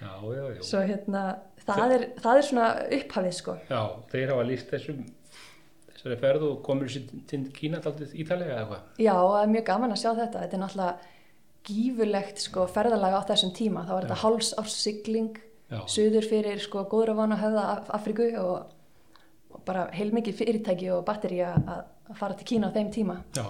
[SPEAKER 1] Já, já, já.
[SPEAKER 5] Svo hérna, það er, það er svona upphafið sko.
[SPEAKER 1] já, þeir hafa líst þessum þessari ferð og komur sér til Kína taldið ítalega eða hvað?
[SPEAKER 5] Já, og það er mjög gaman að sjá þetta. Þetta er náttúrulega gífurlegt sko, ferðalega á þessum tíma. Það var þetta háls árs sigling,
[SPEAKER 1] Já.
[SPEAKER 5] suður fyrir sko, góðravana höfða Af- Afríku og, og bara heilmikið fyrirtæki og batteri að að fara til Kína á þeim tíma.
[SPEAKER 1] Já,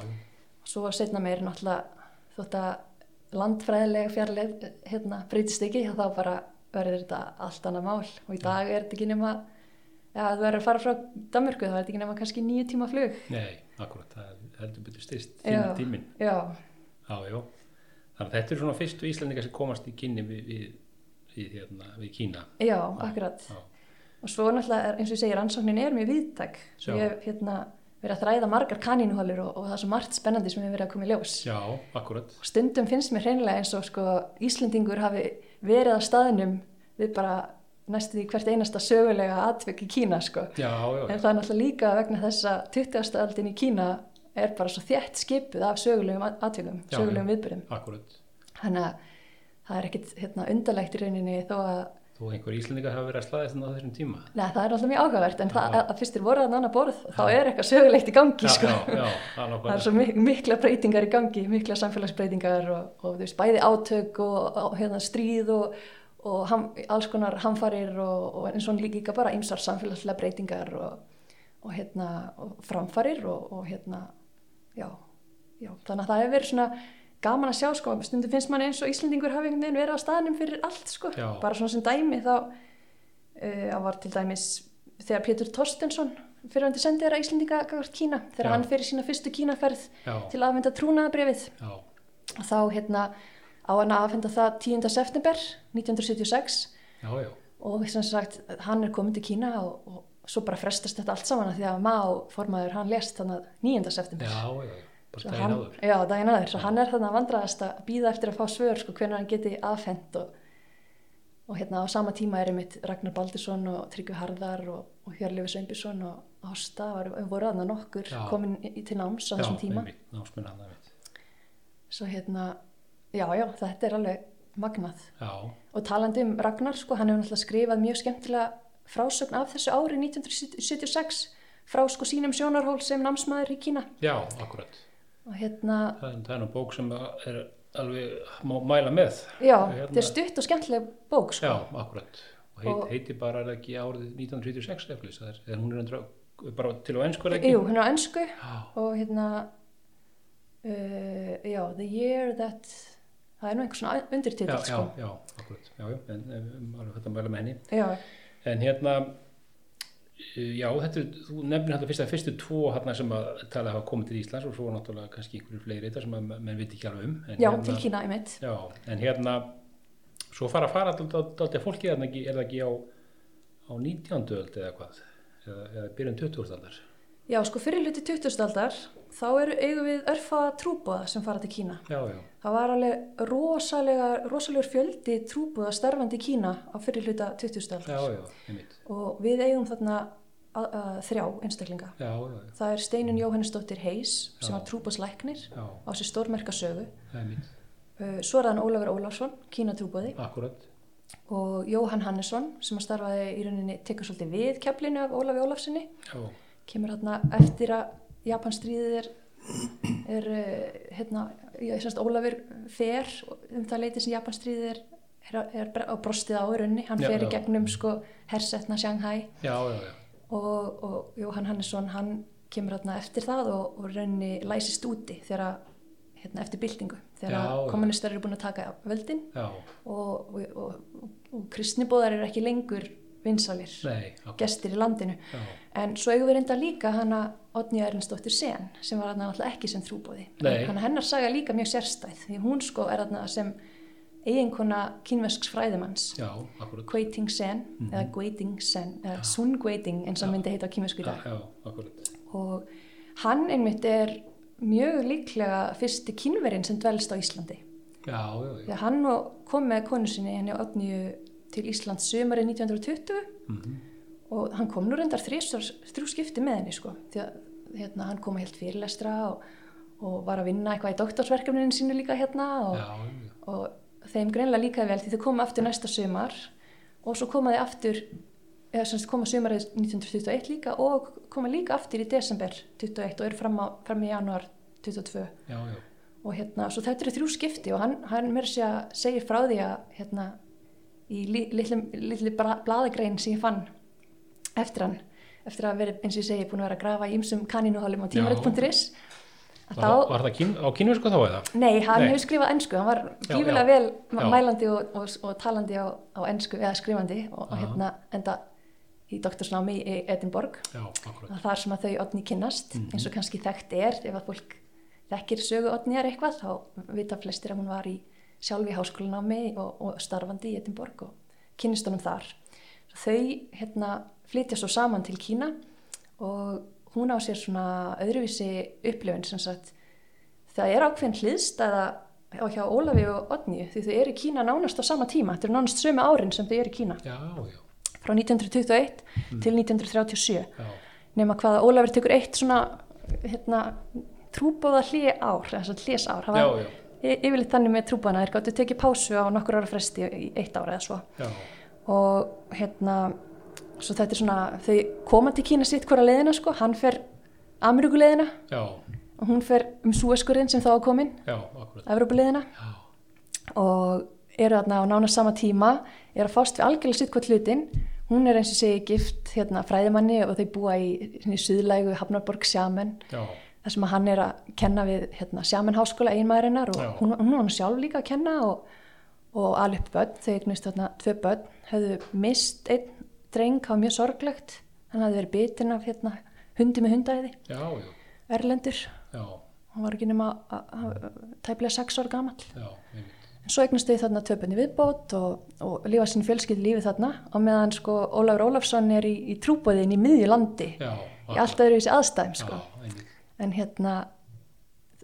[SPEAKER 5] Svo setna meir náttúrulega þótt að landfræðilega fjarlæð hérna, breytist ekki, þá bara verður þetta allt annað mál og í dag er þetta ekki nema Já, þú verður að fara frá Danmörku, þá er þetta ekki nema kannski nýju tíma flug.
[SPEAKER 1] nei, akkurat, það er heldur betur styrst
[SPEAKER 5] Já.
[SPEAKER 1] tíminn.
[SPEAKER 5] Já,
[SPEAKER 1] Já, já. Þannig að þetta er svona fyrstu Íslandingar sem komast í kynni við, við, við, hérna, við Kína.
[SPEAKER 5] Já, akkurat.
[SPEAKER 1] Já,
[SPEAKER 5] Og svo náttúrulega, er, eins og ég segi, rannsóknin er mjög viðtæk. Svo
[SPEAKER 1] Já.
[SPEAKER 5] ég hef hérna, verið að þræða margar kanínuhalur og, og það er svo margt spennandi sem hefur verið að koma í ljós.
[SPEAKER 1] já akkurat.
[SPEAKER 5] Og stundum finnst mér hreinlega eins og sko, Íslendingur hafi verið að staðnum við bara næstu því hvert einasta sögulega atvek í Kína. Sko.
[SPEAKER 1] Já, já,
[SPEAKER 5] En
[SPEAKER 1] já.
[SPEAKER 5] það er náttúrulega líka vegna þess að 20. aldin í Kína er bara svo þjætt skipuð af sögulegum at- atvikum,
[SPEAKER 1] Já,
[SPEAKER 5] sögulegum
[SPEAKER 1] já.
[SPEAKER 5] viðbyrðum.
[SPEAKER 1] akkurat.
[SPEAKER 5] Þannig að það er ekkit hérna, undarlegt í rauninni þó að
[SPEAKER 1] Þú einhver Íslandingar hafa verið að slaðast þannig á þessum tíma.
[SPEAKER 5] Nei, það er alltaf mjög áhugavert, en það,
[SPEAKER 1] Já.
[SPEAKER 5] að fyrst þér voru að annað borð, þá er eitthvað sögulegt í gangi,
[SPEAKER 1] Já,
[SPEAKER 5] sko.
[SPEAKER 1] já, já,
[SPEAKER 5] <laughs>
[SPEAKER 1] það er
[SPEAKER 5] Það er
[SPEAKER 1] nákvæmlega.
[SPEAKER 5] svo mik mikla breytingar í gangi, mikla samfélagsbreytingar og, og þú veist, bæði átök og og, hérna, stríð og, og ham, alls konar hamfarir og, og eins og líka bara ymsar samfélagslega breytingar og, og, hérna, og framfarir og, og hérna, já, já, þannig að það hefur verið svona gaman að sjá sko, stundum finnst manni eins og Íslandingur hafi einhvern veginn verið á staðnum fyrir allt sko,
[SPEAKER 1] Já.
[SPEAKER 5] bara svona sem dæmi þá uh, hann var til dæmis þegar Pétur Torstensson fyrirvændi sendið er að Íslandinga gagvart Kína þegar
[SPEAKER 1] Já.
[SPEAKER 5] hann fyrir sína fyrstu Kínaferð
[SPEAKER 1] já,
[SPEAKER 5] til að afhenda trúnaðabrifið
[SPEAKER 1] já,
[SPEAKER 5] og þá hérna á hann að afhenda það 10. september 1976
[SPEAKER 1] já, já,
[SPEAKER 5] og sem sagt hann er komin til Kína og, og svo bara frestast þetta allt saman af því að Mao formaður hann lest þannig 9. september
[SPEAKER 1] já, já, bara
[SPEAKER 5] Svo
[SPEAKER 1] daginn
[SPEAKER 5] hann,
[SPEAKER 1] áður.
[SPEAKER 5] já, daginn aður, svo hann er þannig að vandraðast að býða eftir að fá svör sko, hvernig hann geti afhend og, og hérna á sama tíma er einmitt Ragnar Baldursson og Tryggvi Harðar og, og Hjörlefi Sveinbjörnsson og Ásta var, voru aðna nokkur
[SPEAKER 1] Já.
[SPEAKER 5] komin í, til náms á þessum
[SPEAKER 1] já,
[SPEAKER 5] tíma
[SPEAKER 1] einmitt, námsmenn hann, einmitt.
[SPEAKER 5] svo hérna, já, já, þetta er alveg magnað
[SPEAKER 1] já,
[SPEAKER 5] og talandi um Ragnar, sko, hann hefur náttúrulega skrifað mjög skemmtilega frásögn af þessu ári 1976 frá sko sínum sjónarhól sem námsmaður í Kína
[SPEAKER 1] já, akkurat
[SPEAKER 5] og hérna,
[SPEAKER 1] það er, það er nú bók sem er alveg má mæla með
[SPEAKER 5] já,
[SPEAKER 1] Hérna-
[SPEAKER 5] þetta er stutt og skemmtileg bók, sko
[SPEAKER 1] já, akkurat og, heit,
[SPEAKER 5] Og-
[SPEAKER 1] heiti bara er það ekki árið 1936 eflis, það er, eða hún er endur bara til á ennsku er það ekki
[SPEAKER 5] Jú, hún er á ennsku
[SPEAKER 1] já,
[SPEAKER 5] og hérna uh, já, the year that það er nú einhver svona
[SPEAKER 1] já,
[SPEAKER 5] undirtitill,
[SPEAKER 1] já,
[SPEAKER 5] sko
[SPEAKER 1] já, akkurat já, já, en, en alveg þetta mæla með henni
[SPEAKER 5] já,
[SPEAKER 1] En hérna, eh, já, þetta, er- þú nefnir hérna fyrst að fyrstu tvo hérna sem að tala hafa komið til Íslands og svo náttúrulega kannski einhverju fleiri þetta sem að menn viti ekki alveg um. En
[SPEAKER 5] já,
[SPEAKER 1] hérna,
[SPEAKER 5] til Kína, ég mitt
[SPEAKER 1] Já, en hérna, svo fara að fara alltaf fólkið hérna ekki, er það ekki á, á 19. öld eða hvað, eða, eða byrjun 20. aldar.
[SPEAKER 5] já, sko, fyrir hluti 20. aldar þá eru eigum við örfa trúbóða sem fara til Kína
[SPEAKER 1] Já, já,
[SPEAKER 5] Það var alveg rosalega, rosalegur fjöldi trúbúða starfandi í Kína á fyrir hluta 2000
[SPEAKER 1] já,
[SPEAKER 5] aldar
[SPEAKER 1] já, einmitt.
[SPEAKER 5] og við eigum þarna að, að, þrjá einstaklinga.
[SPEAKER 1] Já, já, já,
[SPEAKER 5] Það er Steinun Jóhannesdóttir Heis sem
[SPEAKER 1] Já.
[SPEAKER 5] var trúbúðslæknir
[SPEAKER 1] já,
[SPEAKER 5] á sér stórmerka sögu.
[SPEAKER 1] einmitt,
[SPEAKER 5] Uh, Svo er hann Ólafur Ólafsson, Kína trúbúði
[SPEAKER 1] akkurat,
[SPEAKER 5] og Jóhann Hannesson sem að starfaði í rauninni tekur svolítið við keflinu af Ólafi Ólafssoni
[SPEAKER 1] já,
[SPEAKER 5] kemur hérna eftir að Japanstríðið er, er eh, hérna, ég semst Ólafur fer um það leiti sem Japanstríðið er, er, er bre- á brostið á í rauninni, hann
[SPEAKER 1] Já,
[SPEAKER 5] fer í
[SPEAKER 1] já.
[SPEAKER 5] gegnum sko hersetna Shanghai
[SPEAKER 1] já, já, já,
[SPEAKER 5] og, og Jóhann Hannesson hann kemur hérna eftir það og, og í rauninni læsist úti þegar að hérna eftir byltingu, þegar
[SPEAKER 1] Já,
[SPEAKER 5] að
[SPEAKER 1] já.
[SPEAKER 5] kommunistar eru búin að taka völdin
[SPEAKER 1] já,
[SPEAKER 5] og, og, og, og kristnibóðar eru ekki lengur vinsalir,
[SPEAKER 1] nei, akkurat,
[SPEAKER 5] gestir í landinu
[SPEAKER 1] já,
[SPEAKER 5] En svo eigum við reynda líka hana Odnja Erlendsdóttir Sen sem var hana alltaf ekki sem trúbóði.
[SPEAKER 1] Nei.
[SPEAKER 5] Hanna hennar saga líka mjög sérstæð því hún sko er hana sem eiginkona kínvesks fræðimanns
[SPEAKER 1] já, akkurat,
[SPEAKER 5] Guiting Sen eða Guiting Sen eða Sun Guiting eins og myndi heita á kínvesku í
[SPEAKER 1] já,
[SPEAKER 5] dag.
[SPEAKER 1] já, akkurat,
[SPEAKER 5] Og hann einmitt er mjög líklega fyrsti kínverinn sem dvelst á Íslandi.
[SPEAKER 1] já, já, já,
[SPEAKER 5] Þegar hann og- kom með konu sinni henni á Odnju til Íslands sömari 1920
[SPEAKER 1] mhm,
[SPEAKER 5] og hann kom nú reyndar þrísar, þrjú skipti með henni sko því að hérna, hann kom að helt fyrirlestra og, og var að vinna eitthvað í doktorsverkefninu sínu líka hérna og,
[SPEAKER 1] já, já, já.
[SPEAKER 5] og þeim greinlega líka vel því þau koma aftur næsta sumar og svo koma þau aftur eða sem sagt koma sumarið 1921 líka og koma líka aftur í desember 21 og eru fram, á, fram í januar
[SPEAKER 1] já,
[SPEAKER 5] 22
[SPEAKER 1] já.
[SPEAKER 5] og hérna, svo þetta eru þrjú skipti og hann, hann mér sé að segja frá því að hérna, í li, litlu, litlu bra- blaðagrein sem ég fann eftir hann, eftir að verið, eins og ég segi, búin að vera að grafa í ymsum kanínuhálum á tímarit.is að
[SPEAKER 1] Var, það,
[SPEAKER 5] þá,
[SPEAKER 1] var það kín, á kínversku þá eða?
[SPEAKER 5] nei, hann
[SPEAKER 1] Nei.
[SPEAKER 5] hefur skrifað ensku, hann var
[SPEAKER 1] Já,
[SPEAKER 5] gífilega
[SPEAKER 1] já,
[SPEAKER 5] vel
[SPEAKER 1] já.
[SPEAKER 5] mælandi og, og, og talandi á, á ensku, eða skrifandi og, og hérna enda í doktorsnámi í Edinborg
[SPEAKER 1] Já, akkurat.
[SPEAKER 5] að þar sem að þau odni kynnast eins og kannski þekkt er ef að fólk þekkir sögu odniðar eitthvað þá vita flestir að hún var í sjálfi háskólanámi og, og starfandi í Edinborg og kynnist honum þar svo þau hérna flytja svo saman til Kína og hún á sér svona öðruvísi upplifun sem sagt það er ákveðin hliðstæða á hjá Ólafi og Odni því þau eru í Kína nánast á sama tíma þetta eru nánast sömu árin sem þau eru í Kína
[SPEAKER 1] Já, já,
[SPEAKER 5] frá 1921 til 1937
[SPEAKER 1] já,
[SPEAKER 5] nema hvað að Ólafur tekur eitt svona hérna, trúbóða hlið ár þess að hliðs ár
[SPEAKER 1] já, já,
[SPEAKER 5] yfirleitt þannig með trúbóðana þeir gáttu tekið pásu á nokkur ára fresti í eitt ára eða svo
[SPEAKER 1] já,
[SPEAKER 5] og hérna svo þetta er svona, þau koma til Kína sitt hvora leiðina sko, hann fer Ameríkuleiðina
[SPEAKER 1] já,
[SPEAKER 5] og hún fer um Súeskurinn sem þá er komin
[SPEAKER 1] já, akkurat.
[SPEAKER 5] Evrópuleiðina
[SPEAKER 1] Já,
[SPEAKER 5] og eru þarna á nánast sama tíma eru að fást við algjörlega sitt hvort hlutin hún er eins og segi gift hérna, fræðimanni og þau búa í, í suðlægu Hafnarborg Sjaman
[SPEAKER 1] já,
[SPEAKER 5] þar sem að hann er að kenna við hérna, sjaman háskóla einmaðurinnar og
[SPEAKER 1] Já.
[SPEAKER 5] hún, hún var nú sjálf líka að kenna og, og alveg börn, þau eignist þarna tvö börn, höfðu mist einn dreng, það var mjög sorglegt hann hafði verið bitin af hérna, hundi með hundæði,
[SPEAKER 1] já, já,
[SPEAKER 5] erlendur
[SPEAKER 1] já,
[SPEAKER 5] hann var ekki nema að- að- að- tæplega sex ára gamall
[SPEAKER 1] já, einmitt.
[SPEAKER 5] En svo eignast þau þarna töpunni viðbót og, og lifa sín fjölskyld lífi þarna og meðan sko Ólafur Ólafsson er í, í trúbóðin í miðju landi
[SPEAKER 1] já,
[SPEAKER 5] í allt öðru þessi aðstæðum sko.
[SPEAKER 1] já, einmitt.
[SPEAKER 5] En hérna,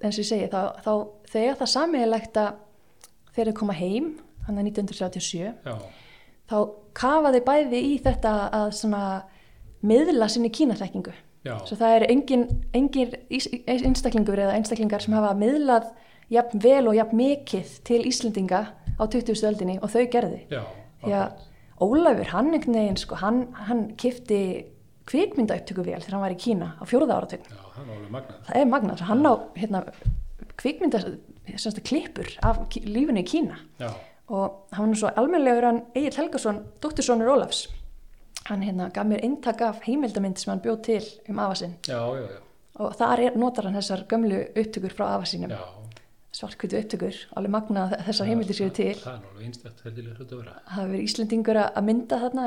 [SPEAKER 5] eins og ég segi, þá, þá þegar það samiðilegt að þegar þau koma heim, hann er 1937,
[SPEAKER 1] já,
[SPEAKER 5] þá kafa þau bæði í þetta að svona miðla sinni kínaþekkingu.
[SPEAKER 1] já,
[SPEAKER 5] Svo það er engin, engin ís- einstaklingur eða einstaklingar sem hafa miðlað jafn vel og jafn mikið til Íslendinga á 20. öldinni og þau gerði.
[SPEAKER 1] já,
[SPEAKER 5] Því að Ólafur, hann einhvern veginn, sko, hann, hann kifti kvikmynda upptöku vel þegar hann var í Kína á fjóruða áratögn.
[SPEAKER 1] já, það er alveg magnað,
[SPEAKER 5] Það er magnað, hann á hérna, kvikmynda, semst að klippur af ki- lífinu í Kína
[SPEAKER 1] já,
[SPEAKER 5] og hann er svo almennilegur hann Egil Helgason, dóttursonur Ólafs. Hann hérna gaf mér eintak af heimildamind sem hann bjóð til um afa sinn
[SPEAKER 1] já, já, já,
[SPEAKER 5] og þar er, notar hann þessar gömlu upptökur frá afa sínum,
[SPEAKER 1] já,
[SPEAKER 5] svartkvítu upptökur alveg magna að þessar heimildir séu til
[SPEAKER 1] það er alveg einstætt heldilega hlut að vera,
[SPEAKER 5] það hafa verið Íslendingur að að mynda þarna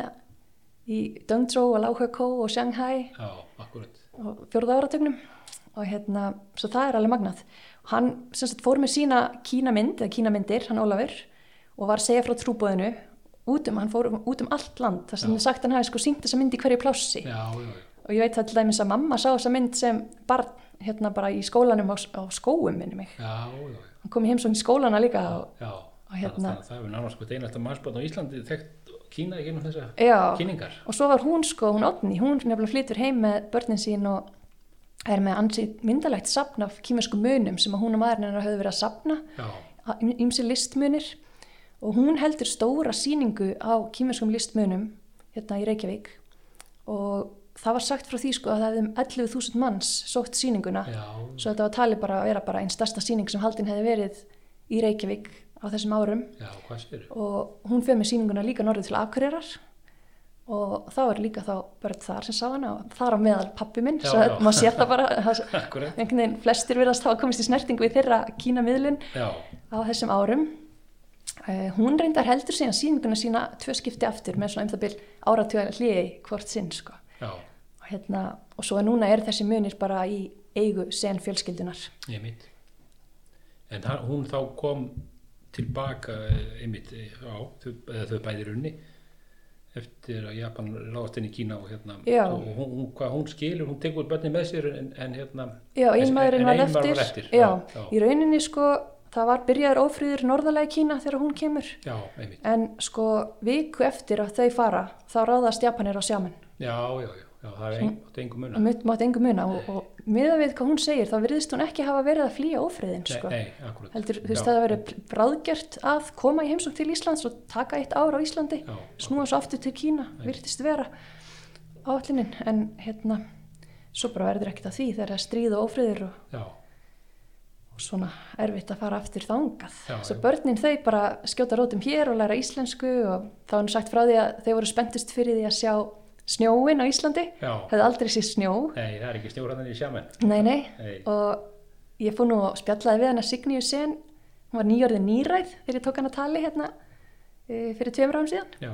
[SPEAKER 5] í Döngtró og Láhökó og Shanghai
[SPEAKER 1] já, akkurat,
[SPEAKER 5] og fjórða áratögnum og hérna, svo það er alveg magnað og hann sem sagt fór með sína kínamynd eða kínamyndir, hann Ólafur og var að segja frá trúbóðinu út um, hann fór um- út um allt land þar sem
[SPEAKER 1] Já.
[SPEAKER 5] er sagt að hann hafi sko sínt þessa mynd í hverju plássi
[SPEAKER 1] já, já, já,
[SPEAKER 5] og ég veit það til dæmis að mamma sá þessa mynd sem barn hérna bara í skólanum á, á skóum minni mig
[SPEAKER 1] já, já, já,
[SPEAKER 5] hann kom í heimsókn í skólana líka og,
[SPEAKER 1] já,
[SPEAKER 5] hérna-
[SPEAKER 1] það, það, það er nánast sko einasta mannsbóðn á Íslandi þekkt Kína í gennum þessa
[SPEAKER 5] já,
[SPEAKER 1] kynningar,
[SPEAKER 5] og svo var hún sko, hún Otni, hún nefnilega flytur heim með börnin sín og er með ansið myndalegt safn af kýmjösku munum sem að hún og maðurinn hennar höfðu verið að safna
[SPEAKER 1] já,
[SPEAKER 5] ímsi listmunir og hún heldur stóra síningu á kýmjöskum listmunum hérna í Reykjavík og það var sagt frá því sko að það hefði um 11.000 manns sótt síninguna
[SPEAKER 1] já,
[SPEAKER 5] svo þetta var talið bara að vera bara einn stærsta síning sem haldin hefði verið í Reykjavík á þessum árum
[SPEAKER 1] já, hvað séru,
[SPEAKER 5] og hún fyrir með síninguna líka norður til Akureyrar og þá er líka þá börn þar sem sá hana og þar á meðal pappi minn
[SPEAKER 1] Já,
[SPEAKER 5] svo
[SPEAKER 1] já.
[SPEAKER 5] maður
[SPEAKER 1] <laughs>
[SPEAKER 5] sér það bara það-
[SPEAKER 1] Akkúrat.
[SPEAKER 5] einhvern veginn flestir verðast þá að komist í snertingu við þeirra kínamiðlun
[SPEAKER 1] já,
[SPEAKER 5] á þessum árum uh, hún reyndar heldur síðan síninguna sína tvö skipti aftur með svona um það byl áratuga hliði hvort sinn sko.
[SPEAKER 1] já,
[SPEAKER 5] og, hérna, og svo núna er þessi munir bara í eigu sen fjölskyldunar
[SPEAKER 1] ég mitt, en hann, hún þá kom tilbaka, eh, einmitt, eh, já, þau, eða þau bæði runni, eftir að Japan ráðast inn í Kína og hérna,
[SPEAKER 5] Já.
[SPEAKER 1] og hún, hún, hvað hún skilur, hún tekur börnin með sér en, en hérna,
[SPEAKER 5] Já,
[SPEAKER 1] en-
[SPEAKER 5] einmaðurinn
[SPEAKER 1] en
[SPEAKER 5] var
[SPEAKER 1] ein
[SPEAKER 5] eftir, já,
[SPEAKER 1] já,
[SPEAKER 5] í
[SPEAKER 1] já,
[SPEAKER 5] rauninni sko það var byrjaður ófrýður norðalega í Kína þegar hún kemur
[SPEAKER 1] já, einmitt,
[SPEAKER 5] en sko viku eftir að þau fara þá ráðast Japanir á sjáman
[SPEAKER 1] já, já, já, já það er ein, átti engum
[SPEAKER 5] og
[SPEAKER 1] munar,
[SPEAKER 5] mynd mátt engu muna og, og miða við hvað hún segir þá virðist hún ekki hafa verið að flýja ófrýðin sko.
[SPEAKER 1] nei, nei, akkurat,
[SPEAKER 5] heldur, þú veist
[SPEAKER 1] Já.
[SPEAKER 5] það að verið bráðgjört að koma í heimsókn til Íslands og taka eitt ár á Íslandi
[SPEAKER 1] Já,
[SPEAKER 5] snúa svo aftur til Kína, virtist vera áallinin, en hérna svo bara verður ekkert að því þegar það er stríð og ófrýður og
[SPEAKER 1] já,
[SPEAKER 5] og svona erfitt að fara aftur þangað.
[SPEAKER 1] Já,
[SPEAKER 5] Svo
[SPEAKER 1] já.
[SPEAKER 5] börnin þau bara skjóta rótum hér og læra íslensku og þá er nú sagt frá því að þau voru spenntust fyrir því að sjá snjóin á Íslandi.
[SPEAKER 1] Já.
[SPEAKER 5] Hefði aldrei séð snjó.
[SPEAKER 1] nei, það er ekki snjóraðan í sjaman,
[SPEAKER 5] Nei, nei.
[SPEAKER 1] Nei.
[SPEAKER 5] Og ég fór nú og spjallaði við hana Signýju sen. Hún var nýjörðin nýræð þegar ég tók hana tali hérna eh, fyrir tveimur árum síðan
[SPEAKER 1] já,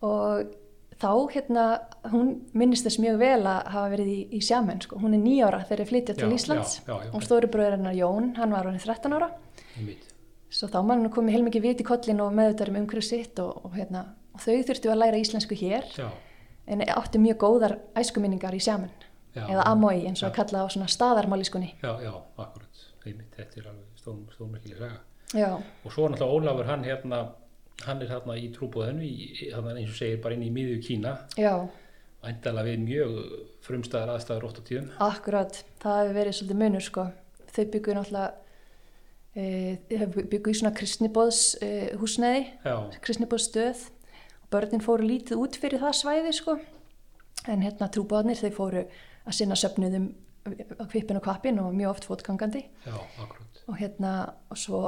[SPEAKER 5] og þá hérna, hún minnist þess mjög vel að hafa verið í, í sjaman, sko. hún er nýjára þegar ég flytja til
[SPEAKER 1] Já,
[SPEAKER 5] Íslands
[SPEAKER 1] já, já, já.
[SPEAKER 5] og stóri bröður hennar Jón, hann var hann 13 ára
[SPEAKER 1] einmitt,
[SPEAKER 5] svo þá mann komið heilmikið vit í kollin og meðutarum umhverju sitt og, og, hérna, og þau þurftu að læra íslensku hér
[SPEAKER 1] já,
[SPEAKER 5] en áttu mjög góðar æskuminningar í sjaman
[SPEAKER 1] Já.
[SPEAKER 5] eða amói eins
[SPEAKER 1] Já.
[SPEAKER 5] og að kalla á svona staðarmáliskunni
[SPEAKER 1] já, já, akkurat, einmitt, þetta er alveg stórm, stórmerkileg saga.
[SPEAKER 5] já,
[SPEAKER 1] og svo náttúrulega Ólafur hann hérna hann er hérna í trúbúðinu hérna eins og segir bara inn í miðju Kína
[SPEAKER 5] já,
[SPEAKER 1] ændala við mjög frumstæðar aðstæður ótt á tíðum
[SPEAKER 5] akkurat það hefur verið svolítið munur sko þau byggu náttúrulega e, þau byggu í svona kristnibóðs e, húsneiði,
[SPEAKER 1] já,
[SPEAKER 5] kristnibóðsstöð og börnin fóru lítið út fyrir það svæði sko en hérna trúbóðnir þau fóru að sinna söfnuðum á kvipin og kvapin og mjög oft fótgangandi
[SPEAKER 1] já, akkurat
[SPEAKER 5] og hérna og svo,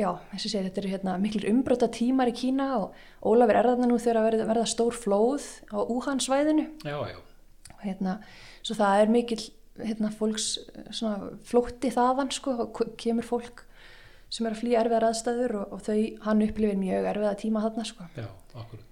[SPEAKER 5] já, eins og segja þetta eru hérna miklir umbrota tímar í Kína og Ólafur er þarna nú þegar að verða, verða stór flóð á Wuhan svæðinu
[SPEAKER 1] já, já,
[SPEAKER 5] og hérna, svo það er mikill hérna, fólks svona, flótti þaðan sko, og k- kemur fólk sem er að flýja erfiðar aðstæður og, og þau, hann upplifir mjög erfiða tíma þarna sko.
[SPEAKER 1] já, akkurat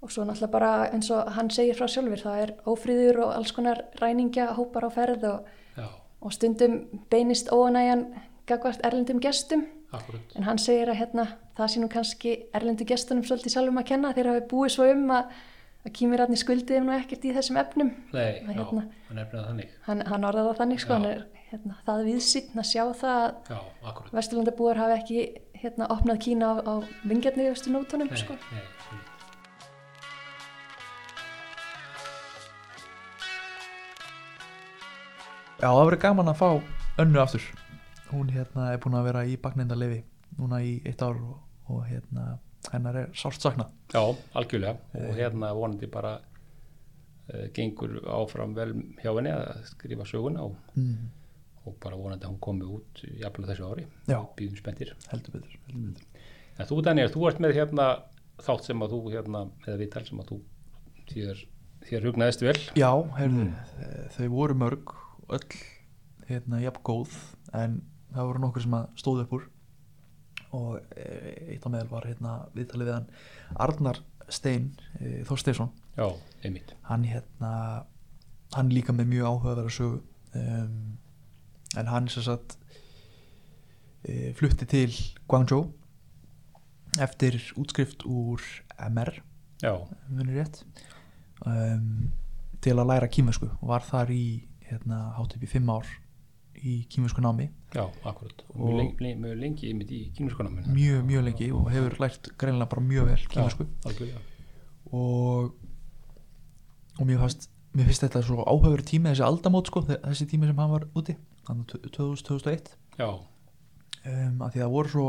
[SPEAKER 5] og svo náttúrulega bara eins og hann segir frá sjálfur það er ófríður og alls konar ræningja hópar á ferð og,
[SPEAKER 1] já,
[SPEAKER 5] og stundum beinist óanægjan gagvart erlendum gestum
[SPEAKER 1] akkurat,
[SPEAKER 5] en hann segir að hérna, það sé nú kannski erlendu gestunum svolítið sjálfum að kenna þeir hafi búið svo um að, að kýmirarni skuldið nú ekkert í þessum efnum
[SPEAKER 1] nei,
[SPEAKER 5] Það
[SPEAKER 1] já,
[SPEAKER 5] hérna.
[SPEAKER 1] hann er það þannig
[SPEAKER 5] hann, hann orðaði það þannig
[SPEAKER 1] Já.
[SPEAKER 5] sko, hann er hérna, það viðsýtn að sjá það að
[SPEAKER 1] já,
[SPEAKER 5] hérna,
[SPEAKER 1] akkurat
[SPEAKER 5] Vesturlandabúar hafi ekki hérna, opnað Kína á, á vingjarni í Vesturlótunum
[SPEAKER 1] nei,
[SPEAKER 5] sko.
[SPEAKER 1] nei, einmitt.
[SPEAKER 2] Já, það verið gaman að fá önnu aftur Hún hérna er búin að vera í baknendalefi núna í eitt ár og, og hérna hennar er sárt saknað
[SPEAKER 1] Já, algjörlega
[SPEAKER 2] Eh.
[SPEAKER 1] og hérna vonandi bara uh, gengur áfram vel hjá henni að skrifa söguna og,
[SPEAKER 2] mm.
[SPEAKER 1] og bara vonandi að hún komi út jafnvel á þessu ári,
[SPEAKER 2] Já.
[SPEAKER 1] býðum spenntir
[SPEAKER 2] Heldur betur, heldur betur.
[SPEAKER 1] En þú Daniel, þú ert með hérna þátt sem að þú hérna, eða viðtal sem að þú þér, þér hugnaðist vel
[SPEAKER 2] Já, heyrðu, mm. þau voru mörg öll, hérna, jafn góð en það voru nokkur sem að stóðu upp úr og e, eitt á meðal var hérna viðtalið við hann Arnar Stein e, Þorsteinsson
[SPEAKER 1] Já, einmitt
[SPEAKER 2] hann hérna hann er líka með mjög áhugaverða sögu um, en hann sem sagt e, flutti til Guangzhou eftir útskrift úr MR
[SPEAKER 1] Já,
[SPEAKER 2] munir rétt um, til að læra kýmversku og var þar í hérna, hátt upp í fimm ár í kýmversku námi
[SPEAKER 1] já, akkurat og
[SPEAKER 2] Og-
[SPEAKER 1] mjög lengi, lengi, mjög lengi einmitt í kynurskonamunna
[SPEAKER 2] mjög, mjög lengi og hefur lært greinilega bara mjög vel kýmversku Eh.
[SPEAKER 1] Algjörlega,
[SPEAKER 2] og og mér fannst mér finnst þetta svo áhauður tími þessi aldamót sko, þe- þessi tími sem hann var úti þannig 2001
[SPEAKER 1] já,
[SPEAKER 2] um, að því það voru svo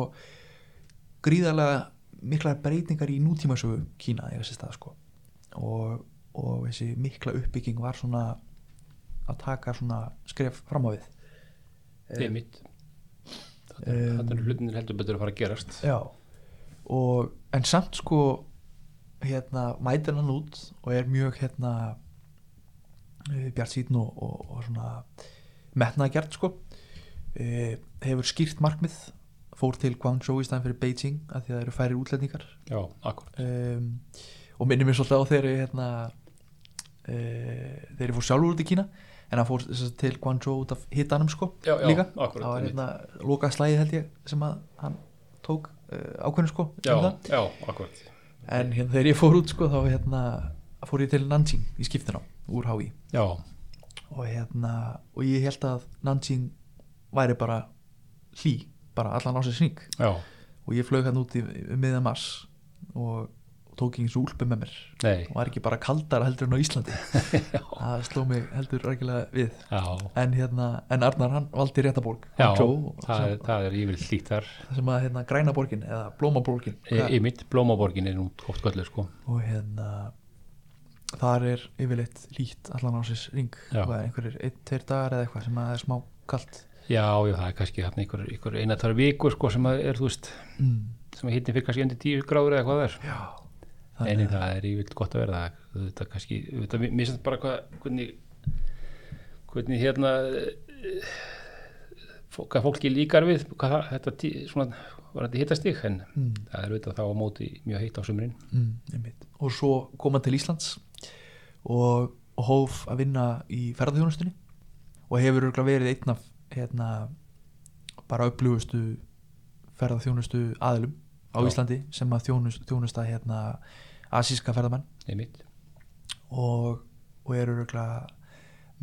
[SPEAKER 2] gríðarlega miklar breytingar í nútímasögu Kína eða þessi stað sko og, og þessi mikla uppbygging var svona að taka svona skref fram á við
[SPEAKER 1] einmitt Þetta eru-
[SPEAKER 2] Em.
[SPEAKER 1] þetta eru hlutinir heldur betur að fara að gerast
[SPEAKER 2] já og en samt sko hérna mætir hann út og er mjög hérna bjart síðan og, og, og svona metnaðgjart sko Eh, hefur skýrt markmið fór til Guangzhou í staðin fyrir Beijing að því að það eru færi útlendingar
[SPEAKER 1] Já, akkurat,
[SPEAKER 2] um, og minnir mér svolítið á þegar ég hérna, uh, þegar ég fór sjálfur út í Kína en hann fór sem sagt til Guangzhou út af hitanum sko
[SPEAKER 1] Já, já,
[SPEAKER 2] líka,
[SPEAKER 1] akkurat,
[SPEAKER 2] það var
[SPEAKER 1] einmitt.
[SPEAKER 2] hérna lokað slæðið held ég sem að hann tók uh, ákveðinu sko um
[SPEAKER 1] já,
[SPEAKER 2] það.
[SPEAKER 1] já, akkurat
[SPEAKER 2] en hérna, þegar ég fór út sko þá hérna, fór ég til Nanjing í skiptina úr HÍ
[SPEAKER 1] Já,
[SPEAKER 2] og hérna og ég held að Nanjing væri bara hlý, bara allan á sér sník
[SPEAKER 1] já,
[SPEAKER 2] og ég flög hann út í miðan mars og, og tók ég eins og úlpi með mér
[SPEAKER 1] nei
[SPEAKER 2] og var ekki bara kaldara heldur en á Íslandi það sló mig heldur rækilega við
[SPEAKER 1] Já,
[SPEAKER 2] en, hérna, en Arnar hann valdi réttaborg
[SPEAKER 1] já
[SPEAKER 2] Guangzhou,
[SPEAKER 1] það,
[SPEAKER 2] sem,
[SPEAKER 1] er- það er yfir hlítar
[SPEAKER 2] sem að hérna, græna borgin eða blómaborgin
[SPEAKER 1] Í mitt blómaborgin er nú oft göllu sko
[SPEAKER 2] og hérna þar er yfirleitt lít allan ásins ring
[SPEAKER 1] Já.
[SPEAKER 2] Hvað er einhverjir einn, tveir dagar eða eitthvað sem að það er smá kalt
[SPEAKER 1] Já, já, það er kannski hann einhver, einhver eina þar viku sko sem að er, þú veist
[SPEAKER 2] mm.
[SPEAKER 1] sem að hittin fyrir kannski undir tíu gráður eða hvað það er
[SPEAKER 2] já
[SPEAKER 1] en það er yfirleitt gott að vera það þetta kannski, þetta misast bara hvað hvernig, hvernig hérna eh, fó- hvað fólki líkar við hvað það, þetta tí, svona var þetta hittastig en
[SPEAKER 2] Mm.
[SPEAKER 1] það er auðvitað þá á móti mjög heitt á sumrin
[SPEAKER 2] mm, einmitt. og svo kom hann til Íslands og, og hóf að vinna í ferðarþjónustunni og hefur örugglega verið einn af hérna, bara upplugustu ferðarþjónustu aðilum á
[SPEAKER 1] Já.
[SPEAKER 2] Íslandi sem að þjónust, þjónusta hérna, asíska ferðamenn
[SPEAKER 1] einmitt,
[SPEAKER 2] og, og eru örugglega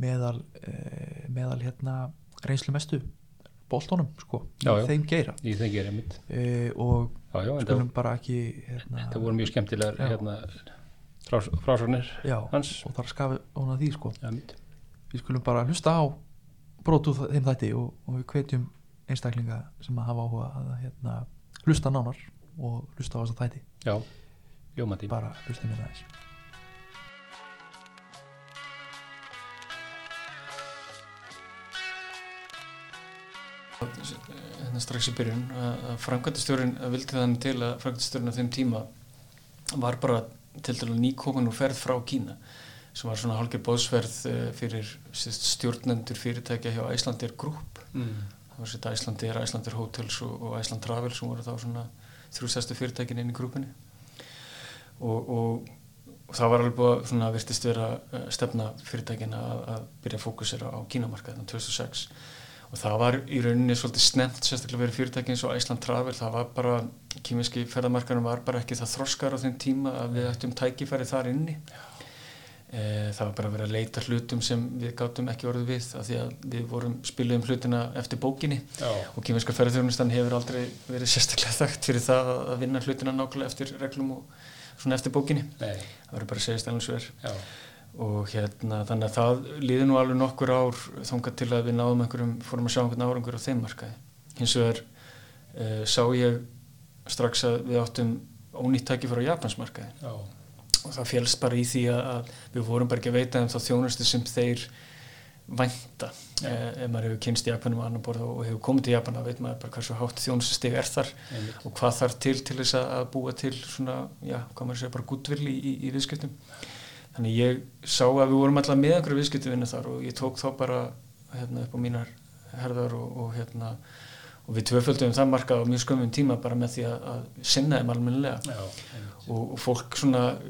[SPEAKER 2] meðal, eh, meðal hérna, reynslu mestu boltónum sko,
[SPEAKER 1] Já,
[SPEAKER 2] í
[SPEAKER 1] já.
[SPEAKER 2] þeim geira
[SPEAKER 1] í þengir einmitt
[SPEAKER 2] e, og
[SPEAKER 1] já, já, en það,
[SPEAKER 2] skulum bara ekki hérna,
[SPEAKER 1] þetta voru mjög skemmtilegar
[SPEAKER 2] Já.
[SPEAKER 1] hérna, frás, frásagnir
[SPEAKER 2] já,
[SPEAKER 1] hans
[SPEAKER 2] og þar skafi hún að því sko
[SPEAKER 1] einmitt.
[SPEAKER 2] við skulum bara hlusta á brotu þeim þætti og, og við hvetjum einstaklinga sem að hafa áhuga að hérna, hlusta nánar og hlusta á þessa þætti
[SPEAKER 1] já, ljómandi
[SPEAKER 2] bara hlusta með aðeins
[SPEAKER 6] hérna strax í byrjun að að framkvæmdastjórinn að vildi þannig til að framkvæmdastjórinn á þeim tíma var bara til dælu nýkókan og ferð frá Kína sem var svona hálkið bóðsverð eh, fyrir stjórnendur fyrirtækja hjá Æslandir Group
[SPEAKER 7] Mm.
[SPEAKER 6] það var sétt Æslandir, Æslandir Hotels og, og Æsland Travel sem voru þá svona þrjústæstu fyrirtækin inn í grúpinni og, og, og það var alveg búið að svona virtist vera eh, stefna fyrirtækina að, að byrja að fókusera á kínamarkaðinu 2006 og það var í rauninni svolítið snemt sérstaklega verið fyrirtækin eins og Æsland Travel það var bara, kímiski ferðamarkanum var bara ekki það þroskar á þeim tíma að við ættum tækifæri þar inni e, það var bara verið að leita hlutum sem við gátum ekki orðið við af því að við vorum spiluðum hlutina eftir bókinni
[SPEAKER 7] Já.
[SPEAKER 6] og kímiska ferðarþjónustan hefur aldrei verið sérstaklega þekkt fyrir það að að vinna hlutina nákvæmlega eftir reglum og svona eftir bókinni
[SPEAKER 7] Nei,
[SPEAKER 6] það verður bara að segja stælum svo er
[SPEAKER 7] já,
[SPEAKER 6] og hérna þannig að það líði nú alveg nokkur ár þangað til að við náðum einhverjum fórum að sjá einhvern árangur á þeim markaði hins vegar uh, sá ég strax að við áttum ónýtt tækifæri á Japansmarkaði
[SPEAKER 7] já,
[SPEAKER 6] og það félst bara í því að, að við vorum bara ekki að veita um þá þjónustu sem þeir vænta ja. ef maður hefur kynst Japanum á annan borð og, og hefur komið til Japan þá veit maður bara hversu hátt þjónustustig er þar
[SPEAKER 7] einmitt,
[SPEAKER 6] og hvað þarf til til þess að að búa til svona, já, hvað maður segja, bara gudvill í, í, í viðskiptum þannig ég sá að við vorum alltaf með einhverju viðskiptuvinna þar og ég tók þá bara hérna, upp á mínar herðar og, og hérna og við tvöföldum það markað á mjög skömmum tíma bara með því að, að sinna þeim almennilega
[SPEAKER 7] já, einmitt.
[SPEAKER 6] og, og fólk svona uh,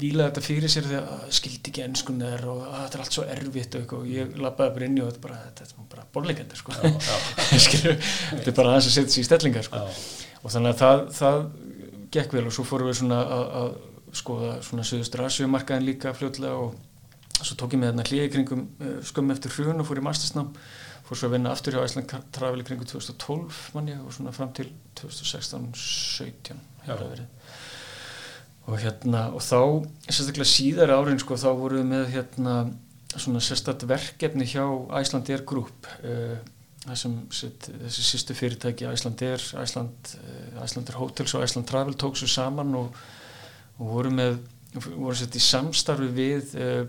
[SPEAKER 6] vílaði þetta fyrir sér þegar að skildi ekki ennskun er og að þetta er allt svo erfitt og, eitthvað og ég lappaði bara inn í og þetta er bara, þetta er bara borleikandi sko <laughs> Skilur, þetta er bara aðeins að setja sér í stellingar sko.
[SPEAKER 7] Já.
[SPEAKER 6] og þannig að það, það gekk vel og svo fórum við svona að, að skoða svona söðustur asjumarkaðin líka fljótlega og svo tók ég með þarna hlýja í kringum eh, skömmu eftir hrun og fór í mastersnám fór svo að vinna aftur hjá Æsland Travel í kringum 2012 manni og svona fram til 2016-17
[SPEAKER 7] Já.
[SPEAKER 6] hefur það verið og hérna og þá, sérstaklega síðar árin sko, þá vorum við með hérna svona sérstakt verkefni hjá Æslandir Group uh, þessum, sitt, þessi sýstu fyrirtæki Æslandir, Æsland, uh, Æslandir Hotels og Æsland Travel tók svo saman og, og voru með voru sett í samstarfi við uh,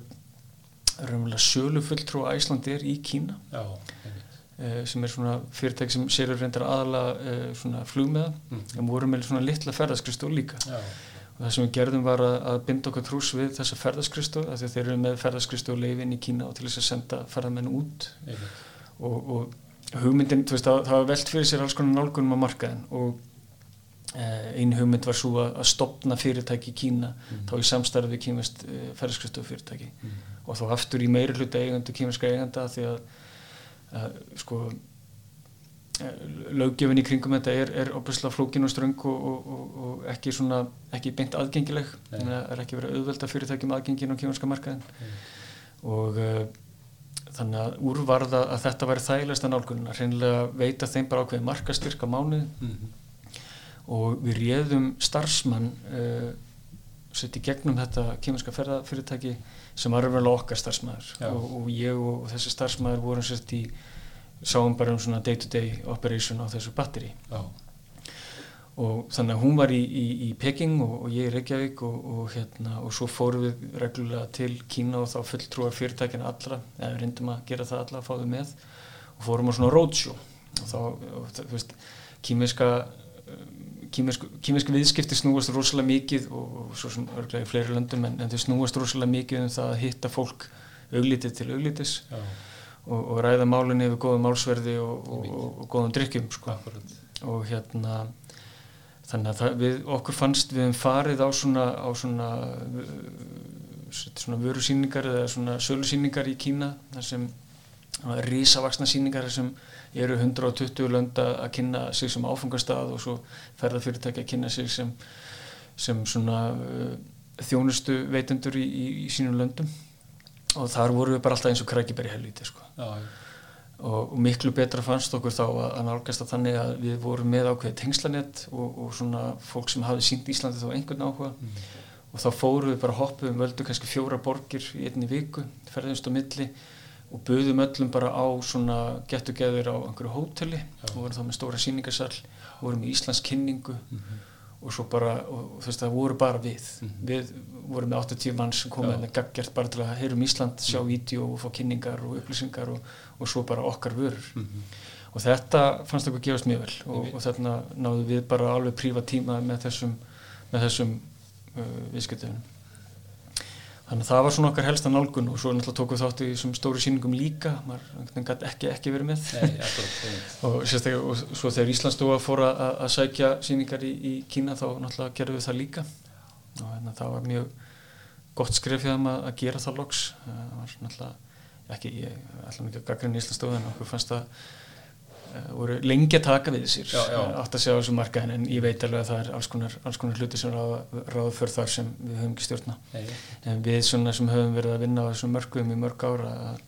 [SPEAKER 6] raunverulega sölufulltrú Æslandir í Kína
[SPEAKER 7] já, einmitt,
[SPEAKER 6] uh, sem er svona fyrirtæki sem selur reyndar aðala uh, svona flugmeða en voru með svona litla ferðaskristu líka
[SPEAKER 7] Mm. já,
[SPEAKER 6] og það sem við gerðum var að, að binda okkar trús við þessa ferðaskristu af því að þeir eru með ferðaskristu og leifin í Kína og til þess að senda ferðamenn út
[SPEAKER 7] einmitt,
[SPEAKER 6] og, og hugmyndin, þú veist, það, það var velt fyrir sér alls konar nálgunum á markaðin og eh, ein hugmynd var svo að, að stopna fyrirtæki í Kína þá í samstarfi við kýmest eh, ferðskristu fyrirtæki og þá aftur í meiri hluta eigendu kýmeska eigenda af því að, að sko löggefin í kringum þetta er, er opuslega flókin og ströng og, og, og, og ekki, svona, ekki beint aðgengileg
[SPEAKER 7] Nei.
[SPEAKER 6] þannig að það er ekki verið auðvelda fyrirtækjum aðgengin á kjónska markaðin og uh, þannig að úrvarða að þetta væri þægilegsta nálgunina hreinlega veita þeim bara ákveðið markastyrka mánuð
[SPEAKER 7] Mhm.
[SPEAKER 6] og við réðum starfsmann uh, sett í gegnum þetta kjónska ferðafyrirtæki sem var vel okkar starfsmæður
[SPEAKER 7] Já.
[SPEAKER 6] og, og ég og, og þessi starfsmæður vorum sett í sáum bara um svona day to day operation á þessu batteri
[SPEAKER 7] já,
[SPEAKER 6] og þannig að hún var í, í, í Peking og, og ég í Reykjavík og, og hérna og svo fórum við reglulega til Kína og þá fulltrúar fyrirtækina allra eða við reyndum að gera það alla að fá þau með og fórum á svona roadshow og þá, og, það, þú veist, kímiska kímisk, kímisk viðskipti snúast rosalega mikið og, og svo sem örglega í fleiri löndum en, en þau snúast rosalega mikið um það að hitta fólk auglítið til auglítis
[SPEAKER 7] já,
[SPEAKER 6] og, og ræða málinni yfir góðum málsverði og, og, og, og góðum drikkjum sko. og hérna þannig að það, við, okkur fannst við höfum farið á svona, á svona uh, svona vörusýningar eða svona sölusýningar í Kína þar sem svona risavaksna sýningar þar sem eru 120 lönd að að kynna sig sem áfangastað og svo ferðafyrirtæki að kynna sig sem, sem svona uh, þjónustu veitendur í, í, í sínum löndum og þar vorum við bara alltaf eins og krækibæri helviti sko
[SPEAKER 7] já,
[SPEAKER 6] og, og miklu betra fannst okkur þá að, að nálgast að þannig að við vorum með ákveðið tengslanett og, og svona fólk sem hafði sínt Íslandi þá einhvern áhuga og þá fórum við bara hoppuð um völdu kannski fjóra borgir í einni viku ferðumst á milli og buðum öllum bara á svona gettu geður á einhverju hóteli og vorum þá með stóra síningasall vorum í Íslands kynningu og svo bara, og, og þú veist það voru bara við við vorum með 80 mann sem komið með gaggjart bara til að heyrum Ísland sjá vídeo og fá kynningar og upplýsingar og, og svo bara okkar vörur og þetta fannst okkur gefast mjög vel og, og þarna náðu við bara alveg prífa tíma með þessum, með þessum uh, viðskiptunum þannig að það var svona okkar helsta nálgun og svo náttúrulega tókum við þátt í þessum stóru síningum líka maður einhvern veginn gæti ekki ekki verið með
[SPEAKER 7] Nei, akkurat,
[SPEAKER 6] <laughs> og sérstaklega og svo þegar Íslandsdóa fór að, að sækja síningar í, í Kína þá náttúrulega gerðum við það líka og hérna, það var mjög gott skref fyrir þeim að, að gera það loks Uh, það var svona náttúrulega ekki ég ætlum ekki að gaggrinni Íslandsdóa en okkur fannst það uh, voru lengi að taka við sér
[SPEAKER 7] Já, já.
[SPEAKER 6] átt að segja á þessu markaðin en ég veit alveg að það er alls konar, alls konar hluti sem ráða, ráða fyrir þar sem við höfum ekki stjórna
[SPEAKER 7] Nei,
[SPEAKER 6] en við svona sem höfum verið að vinna á þessum mörgum í mörg ára að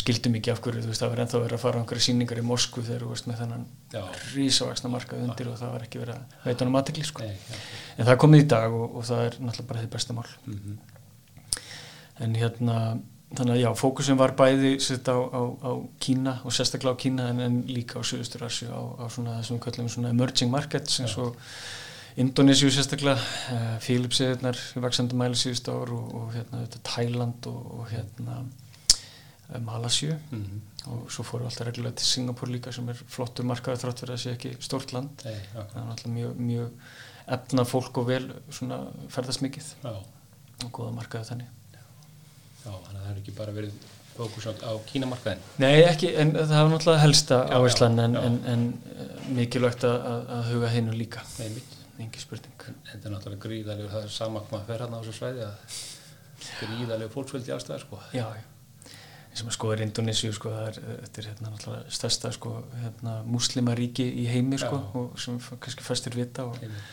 [SPEAKER 6] skildum ekki af hverju, þú veist, það var ennþá verið að fara á einhverja síningar í Moskvu þegar þú veist með þennan
[SPEAKER 7] Já.
[SPEAKER 6] rísavaksna markað undir og það var ekki verið að veita honum aðtekli sko.
[SPEAKER 7] nei, já.
[SPEAKER 6] en það er komið í dag og, og það er náttúrulega bara þið besta mál
[SPEAKER 7] Mhm.
[SPEAKER 6] en hérna þannig að já, fókusum var bæði sitt á, á, á Kína og sérstaklega á Kína en, en líka á Suðustur Asju á, á svona þessum við köllum svona emerging markets eins og Indonésiu sérstaklega uh, Fílipsiðnar í vaksandi mæli síðust ár og, og hérna þetta Tæland og, og hérna eh, Malasíu
[SPEAKER 7] Mhm.
[SPEAKER 6] og svo fórum við alltaf reglulega til Singapur líka sem er flottur markaður þrátt fyrir að sé ekki stórt land
[SPEAKER 7] Nei, akkurat,
[SPEAKER 6] það er alltaf mjög, mjög efna fólk og vel svona ferðast mikið
[SPEAKER 7] já,
[SPEAKER 6] og góða markaður þannig
[SPEAKER 7] já, þannig að það er ekki bara verið fókus á, á kínamarkaðin
[SPEAKER 6] Nei, ekki, en það var náttúrulega helsta
[SPEAKER 7] Já,
[SPEAKER 6] áherslan
[SPEAKER 7] já,
[SPEAKER 6] en,
[SPEAKER 7] já.
[SPEAKER 6] en, en eh, mikilvægt að, að- að huga hennu líka,
[SPEAKER 7] Nei, mitt,
[SPEAKER 6] engi spurning.
[SPEAKER 7] þetta er náttúrulega gríðalegur, það er sama hvað maður fer hann á þessu svæði að gríðalegur fólksveldi allstæðar sko
[SPEAKER 6] Já, já. Eins og maður skoður Indonésiu, sko, það er, eh, þetta er hérna náttúrulega stærsta, sko, hérna, muslimaríki í heimi, sko,
[SPEAKER 7] Já.
[SPEAKER 6] og sem f- kannski fæstir vita og,
[SPEAKER 7] Einmitt.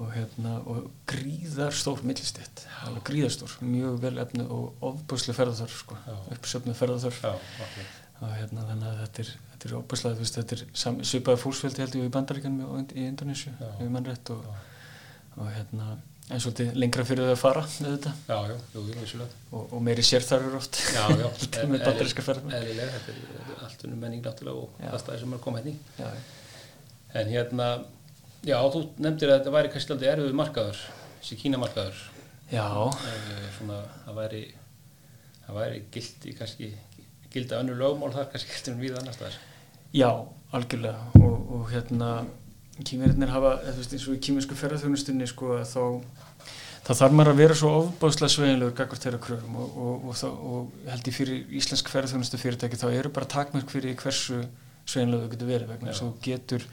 [SPEAKER 6] og hérna, og gríðar stór millistett, alveg gríðar stór, mjög vel efnu og ofbúslu ferðarþörf, sko,
[SPEAKER 7] Já.
[SPEAKER 6] uppsöfnu ferðarþörf.
[SPEAKER 7] Já, okkur,
[SPEAKER 6] og hérna þannig að þetta er, þetta er óbærslega, þú veist, þetta er sam, svipaði fólksfjöldi heldur við í bandaríkanum og ind- í Indonésiu,
[SPEAKER 7] Já.
[SPEAKER 6] við mannrétt og, og hérna, en svolítið lengra fyrir þau að fara með þetta
[SPEAKER 7] já, já, jú, jú, vissulega
[SPEAKER 6] og, og meiri sérþarfur oft
[SPEAKER 7] Já,
[SPEAKER 6] <laughs>
[SPEAKER 7] já,
[SPEAKER 6] Þetta er með bandaríska ferðar
[SPEAKER 7] Eðlilega, þetta er- þetta er allt unnum menning náttúrulega og
[SPEAKER 6] Já.
[SPEAKER 7] það staði sem hérna er að koma henni
[SPEAKER 6] Já,
[SPEAKER 7] En hérna, já, þú nefndir að þetta væri kannski aldrei erfið markaður, þessi kínamarkaður
[SPEAKER 6] já,
[SPEAKER 7] Eh, svona, það væri það væri gildi kannski gilda önnur lögmál þar kannski gildur en við annars þar
[SPEAKER 6] já, algjörlega og, og hérna, kýmirinnir hafa, eða þú veist, eins og í kýminsku ferðarþjónustunni, sko, að þá Það þarf maður að vera svo ofbáslega sveinlegur gagvart þeirra kröfum og, og, og, þá- og held ég fyrir íslensk ferðarþjónustu fyrirtæki þá eru bara takmörk fyrir hversu sveinlegur þú getur verið vegna þess að þú getur,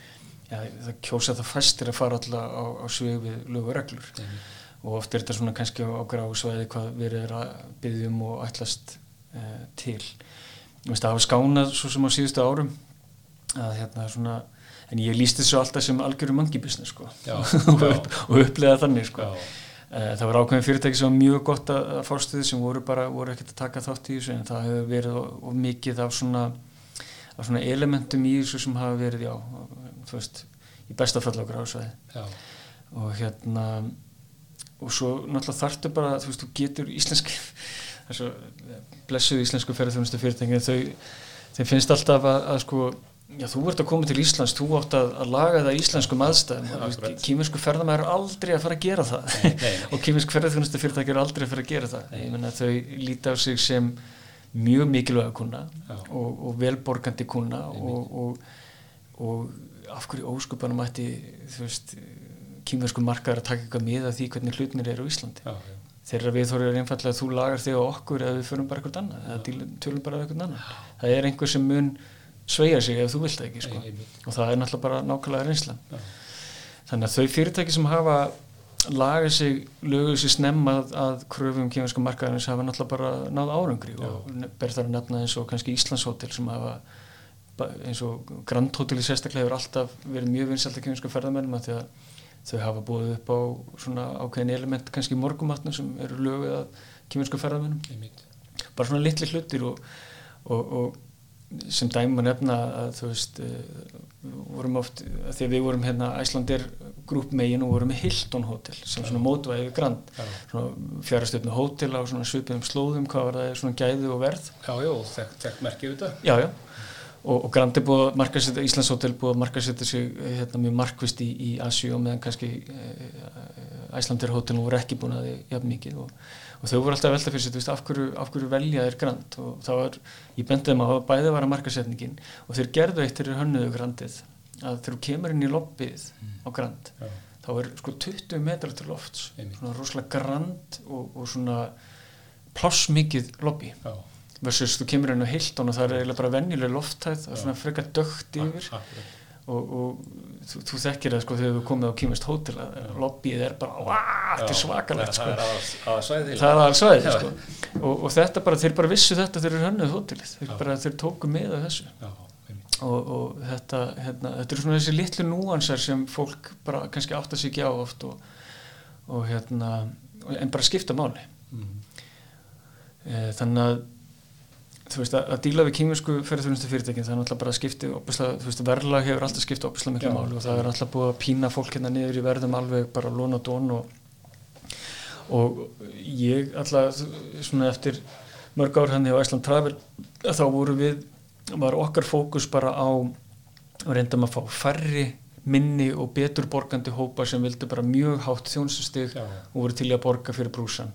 [SPEAKER 6] já, það kjósa það fæstir að fara alltaf á, á svið við lögur reglur
[SPEAKER 1] Mhm.
[SPEAKER 6] og oft er þetta svona kannski á gráðsvæði hvað verið er að byggjum og ætlast eh, til. Þú veist, það hafa skánað svo sem á síðustu árum að hérna svona, en ég líst þessu alltaf sem algjörum mangi business sko
[SPEAKER 1] <laughs>
[SPEAKER 7] Já,
[SPEAKER 6] og,
[SPEAKER 7] já.
[SPEAKER 6] upp, og upplega þannig sko.
[SPEAKER 7] Já.
[SPEAKER 6] Eh, Það var ákveðin fyrirtæki sem var mjög gott að að fást við sem voru bara, voru ekkert að taka þátt í þessu en það hefur verið of of mikið af svona, af svona elementum í þessu sem hafa verið, já, þú veist, í besta fall okkur ásvæði
[SPEAKER 7] já,
[SPEAKER 6] og hérna, og svo náttúrulega þarftu bara, þú veist, þú getur íslenski, <laughs> þessu eh, blessuð íslensku ferðarþjónustu fyrirtæki, þau, þeim finnst alltaf að, að sko, já, þú ert að koma til Íslands, þú átt að, að laga það íslenskum aðstæðum,
[SPEAKER 7] Akkurat.
[SPEAKER 6] kýminsku ferðamæður er aldrei að fara að gera það
[SPEAKER 7] Nei, nei.
[SPEAKER 6] <laughs> og kemursk ferðarþjónustu fyrirtæki eru aldrei fyrir að gera það ég menna þau líti á sig sem mjög mikilvæga kuna
[SPEAKER 7] Já.
[SPEAKER 6] og, og velborgandi kuna og, og, og af hverju óskupanum ætti þú veist kýmursku markaður að taka eitthvað með að því hvernig hlutnir eru á Íslandi
[SPEAKER 7] já, já.
[SPEAKER 6] þeirra viðhorfið er einfallega að þú lagar þig á okkur eða við förum bara eitthvað annað eða dílum- tölum bara við eitthvað annað það er einhver sem mun sveigja sig ef þú vilt það ekki sko.
[SPEAKER 7] Nei, einmitt.
[SPEAKER 6] og það er náttúrulega bara nákvæmlega reynslan
[SPEAKER 7] Já.
[SPEAKER 6] þannig að þau fyrirtæki sem hafa lagað sig, löguð sig snemma að, að kröfum kemurska markaðarins hafa náttúrulega bara náð árangri og ne- ber þar að nefna eins og kannski Íslandshótel sem hafa ba- eins og Grand Hotel í sérstaklega hefur alltaf verið mjög vinsælt að kemurska ferðamennum að því að þau hafa búið upp á svona ákveðin element kannski morgumatnum sem eru löguð að kemurska ferðamennum
[SPEAKER 7] einmitt.
[SPEAKER 6] bara svona litli hlutir og, og, og sem dæmi maður nefna að þú veist eh, vorum oft, að því að við vorum hérna Æslandir grúp megin og vorum með Hilton Hotel sem svona mótvæði við Grand
[SPEAKER 7] Já.
[SPEAKER 6] svona fjárastöfnu hótel á svona svipiðum slóðum, hvað var það, svona gæði og verð
[SPEAKER 7] Já, já, og þekkt þekkt merkið við þetta
[SPEAKER 6] já, já og, og Grand er búið að markasetja, Íslands Hotel búið að markasetja sig eh, hérna, mjög markvist í, í Asjú og meðan kannski Æslandir Hotel voru ekki búin að því jafn mikið og, og þau voru alltaf að velta fyrir sér, þú veist, af hverju, af hverju velja þeir Grand og það var, ég bendi þeim að það bæði var að markasetningin og þeir gerðu eitt þegar þeir hönnuðu Grandið að þegar þú kemur inn í lobbyið á Grand
[SPEAKER 7] Mm. Já.
[SPEAKER 6] þá er sko 20 metrar til lofts
[SPEAKER 7] Einmitt.
[SPEAKER 6] svona rosalega grand og, og svona plássmikið lobby versus þú kemur inn á Hilton og það er eiginlega bara venjuleg lofthæð það er svona frekar dögt yfir og, og þú, þú þekkir það sko þegar þú komið á kýmest hótel að lobbyið er bara "Vá, þetta er svakalegt sko
[SPEAKER 1] það er aðsvæðið
[SPEAKER 6] það er alls aðeins sko. og, og þetta bara, þeir bara vissu þetta þeir eru hönnuð hótelið, þeir, bara, þeir tóku með af þessu og, og þetta, hérna, þetta eru svona þessi litlu núansar sem fólk bara kannski átta sig ekki á oft og, og hérna en bara skipta máli e, þannig að þú veist að, að díla við kýminsku ferðarþjónustu fyrirtækin það er náttúrulega bara að skipti opuslega, þú veist verðlag hefur alltaf skipti opuslega miklu máli og það er alltaf búið að pína fólk hérna niður í verðum alveg bara lón og dón og, og ég alltaf svona eftir mörg ár henni á Æsland Travel þá voru við, var okkar fókus bara á að reynda maður að fá færri minni og betur borgandi hópa sem vildi bara mjög hátt þjónsustig
[SPEAKER 1] Já.
[SPEAKER 6] og voru til í að borga fyrir brúsan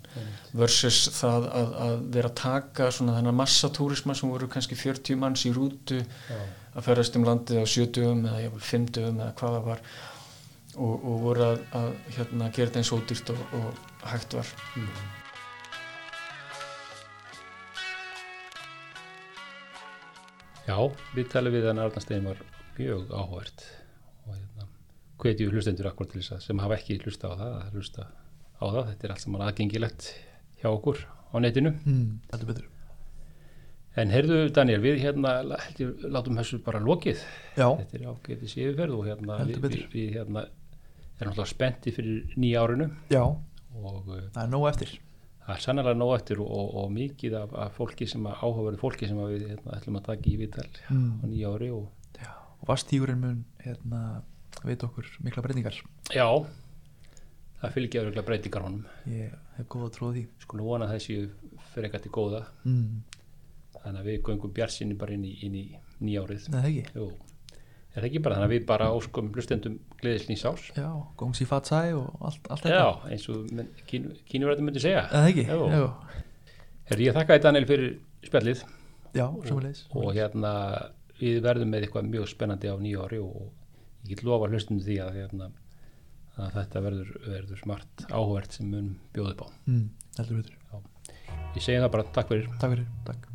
[SPEAKER 6] versus það að, að vera að taka svona þennan massatúrisma sem voru kannski 40 manns í rútu að ferðast um landið á 70 eða jafnvel 50 eða hvað það var og, og voru að, að hérna, gera þetta eins ódýrt og, og hægt var
[SPEAKER 1] Já, við talum við að Arnarstein var mjög áhvert og hérna, hvetju hlustendur akkur til þess að sem hafa ekki hlusta á það að hlusta á það, þetta er allt saman aðgengilegt hjá okkur á netinu
[SPEAKER 2] mm, heldur betur
[SPEAKER 1] en heyrðu Daniel, við hérna la- held ég, látum þessu bara lokið
[SPEAKER 2] já,
[SPEAKER 1] þetta er ágætis yfirferð og hérna við,
[SPEAKER 2] Heldur
[SPEAKER 1] við,
[SPEAKER 2] betur.
[SPEAKER 1] við hérna erum alltaf spennti fyrir nýja árinu
[SPEAKER 2] já,
[SPEAKER 1] og uh,
[SPEAKER 2] það er nóg eftir
[SPEAKER 1] það er sannlega nóg eftir og, og, og mikið af, af fólki sem að áhugaverðu fólki sem að við hérna, ætlum að taka í vital á
[SPEAKER 2] mm.
[SPEAKER 1] nýja ári og
[SPEAKER 2] og vastígurinn mun hérna, veit okkur mikla breytingar
[SPEAKER 1] já það fylgja örgulega breytingar honum
[SPEAKER 2] ég hef góða tróð því
[SPEAKER 1] sko nú vona að það séu fyrir eitthvað til góða
[SPEAKER 2] mm.
[SPEAKER 1] þannig að við göngum bjarsinni bara inn í, inn í nýjárið
[SPEAKER 2] Nei, það ekki
[SPEAKER 1] Jú, er það ekki bara þannig að við bara óskum hlustendum gleðis nýs árs
[SPEAKER 2] já, góngsi fatsæ og allt, allt þetta
[SPEAKER 1] já, eins og men- kín, kínuverðin myndi segja
[SPEAKER 2] Nei, það ekki,
[SPEAKER 1] Jú.
[SPEAKER 2] já,
[SPEAKER 1] er ég að þakka þér Daniel fyrir spjallið
[SPEAKER 2] já samanleis
[SPEAKER 1] og hérna við verðum með eitthvað mjög spennandi á nýjári og ég get lofa hlustendum því að, hérna, að þetta verður, verður smart áhvert sem mun bjóði upp á
[SPEAKER 2] mm, heldur betur,
[SPEAKER 1] ég segi það bara takk fyrir
[SPEAKER 2] takk fyrir, takk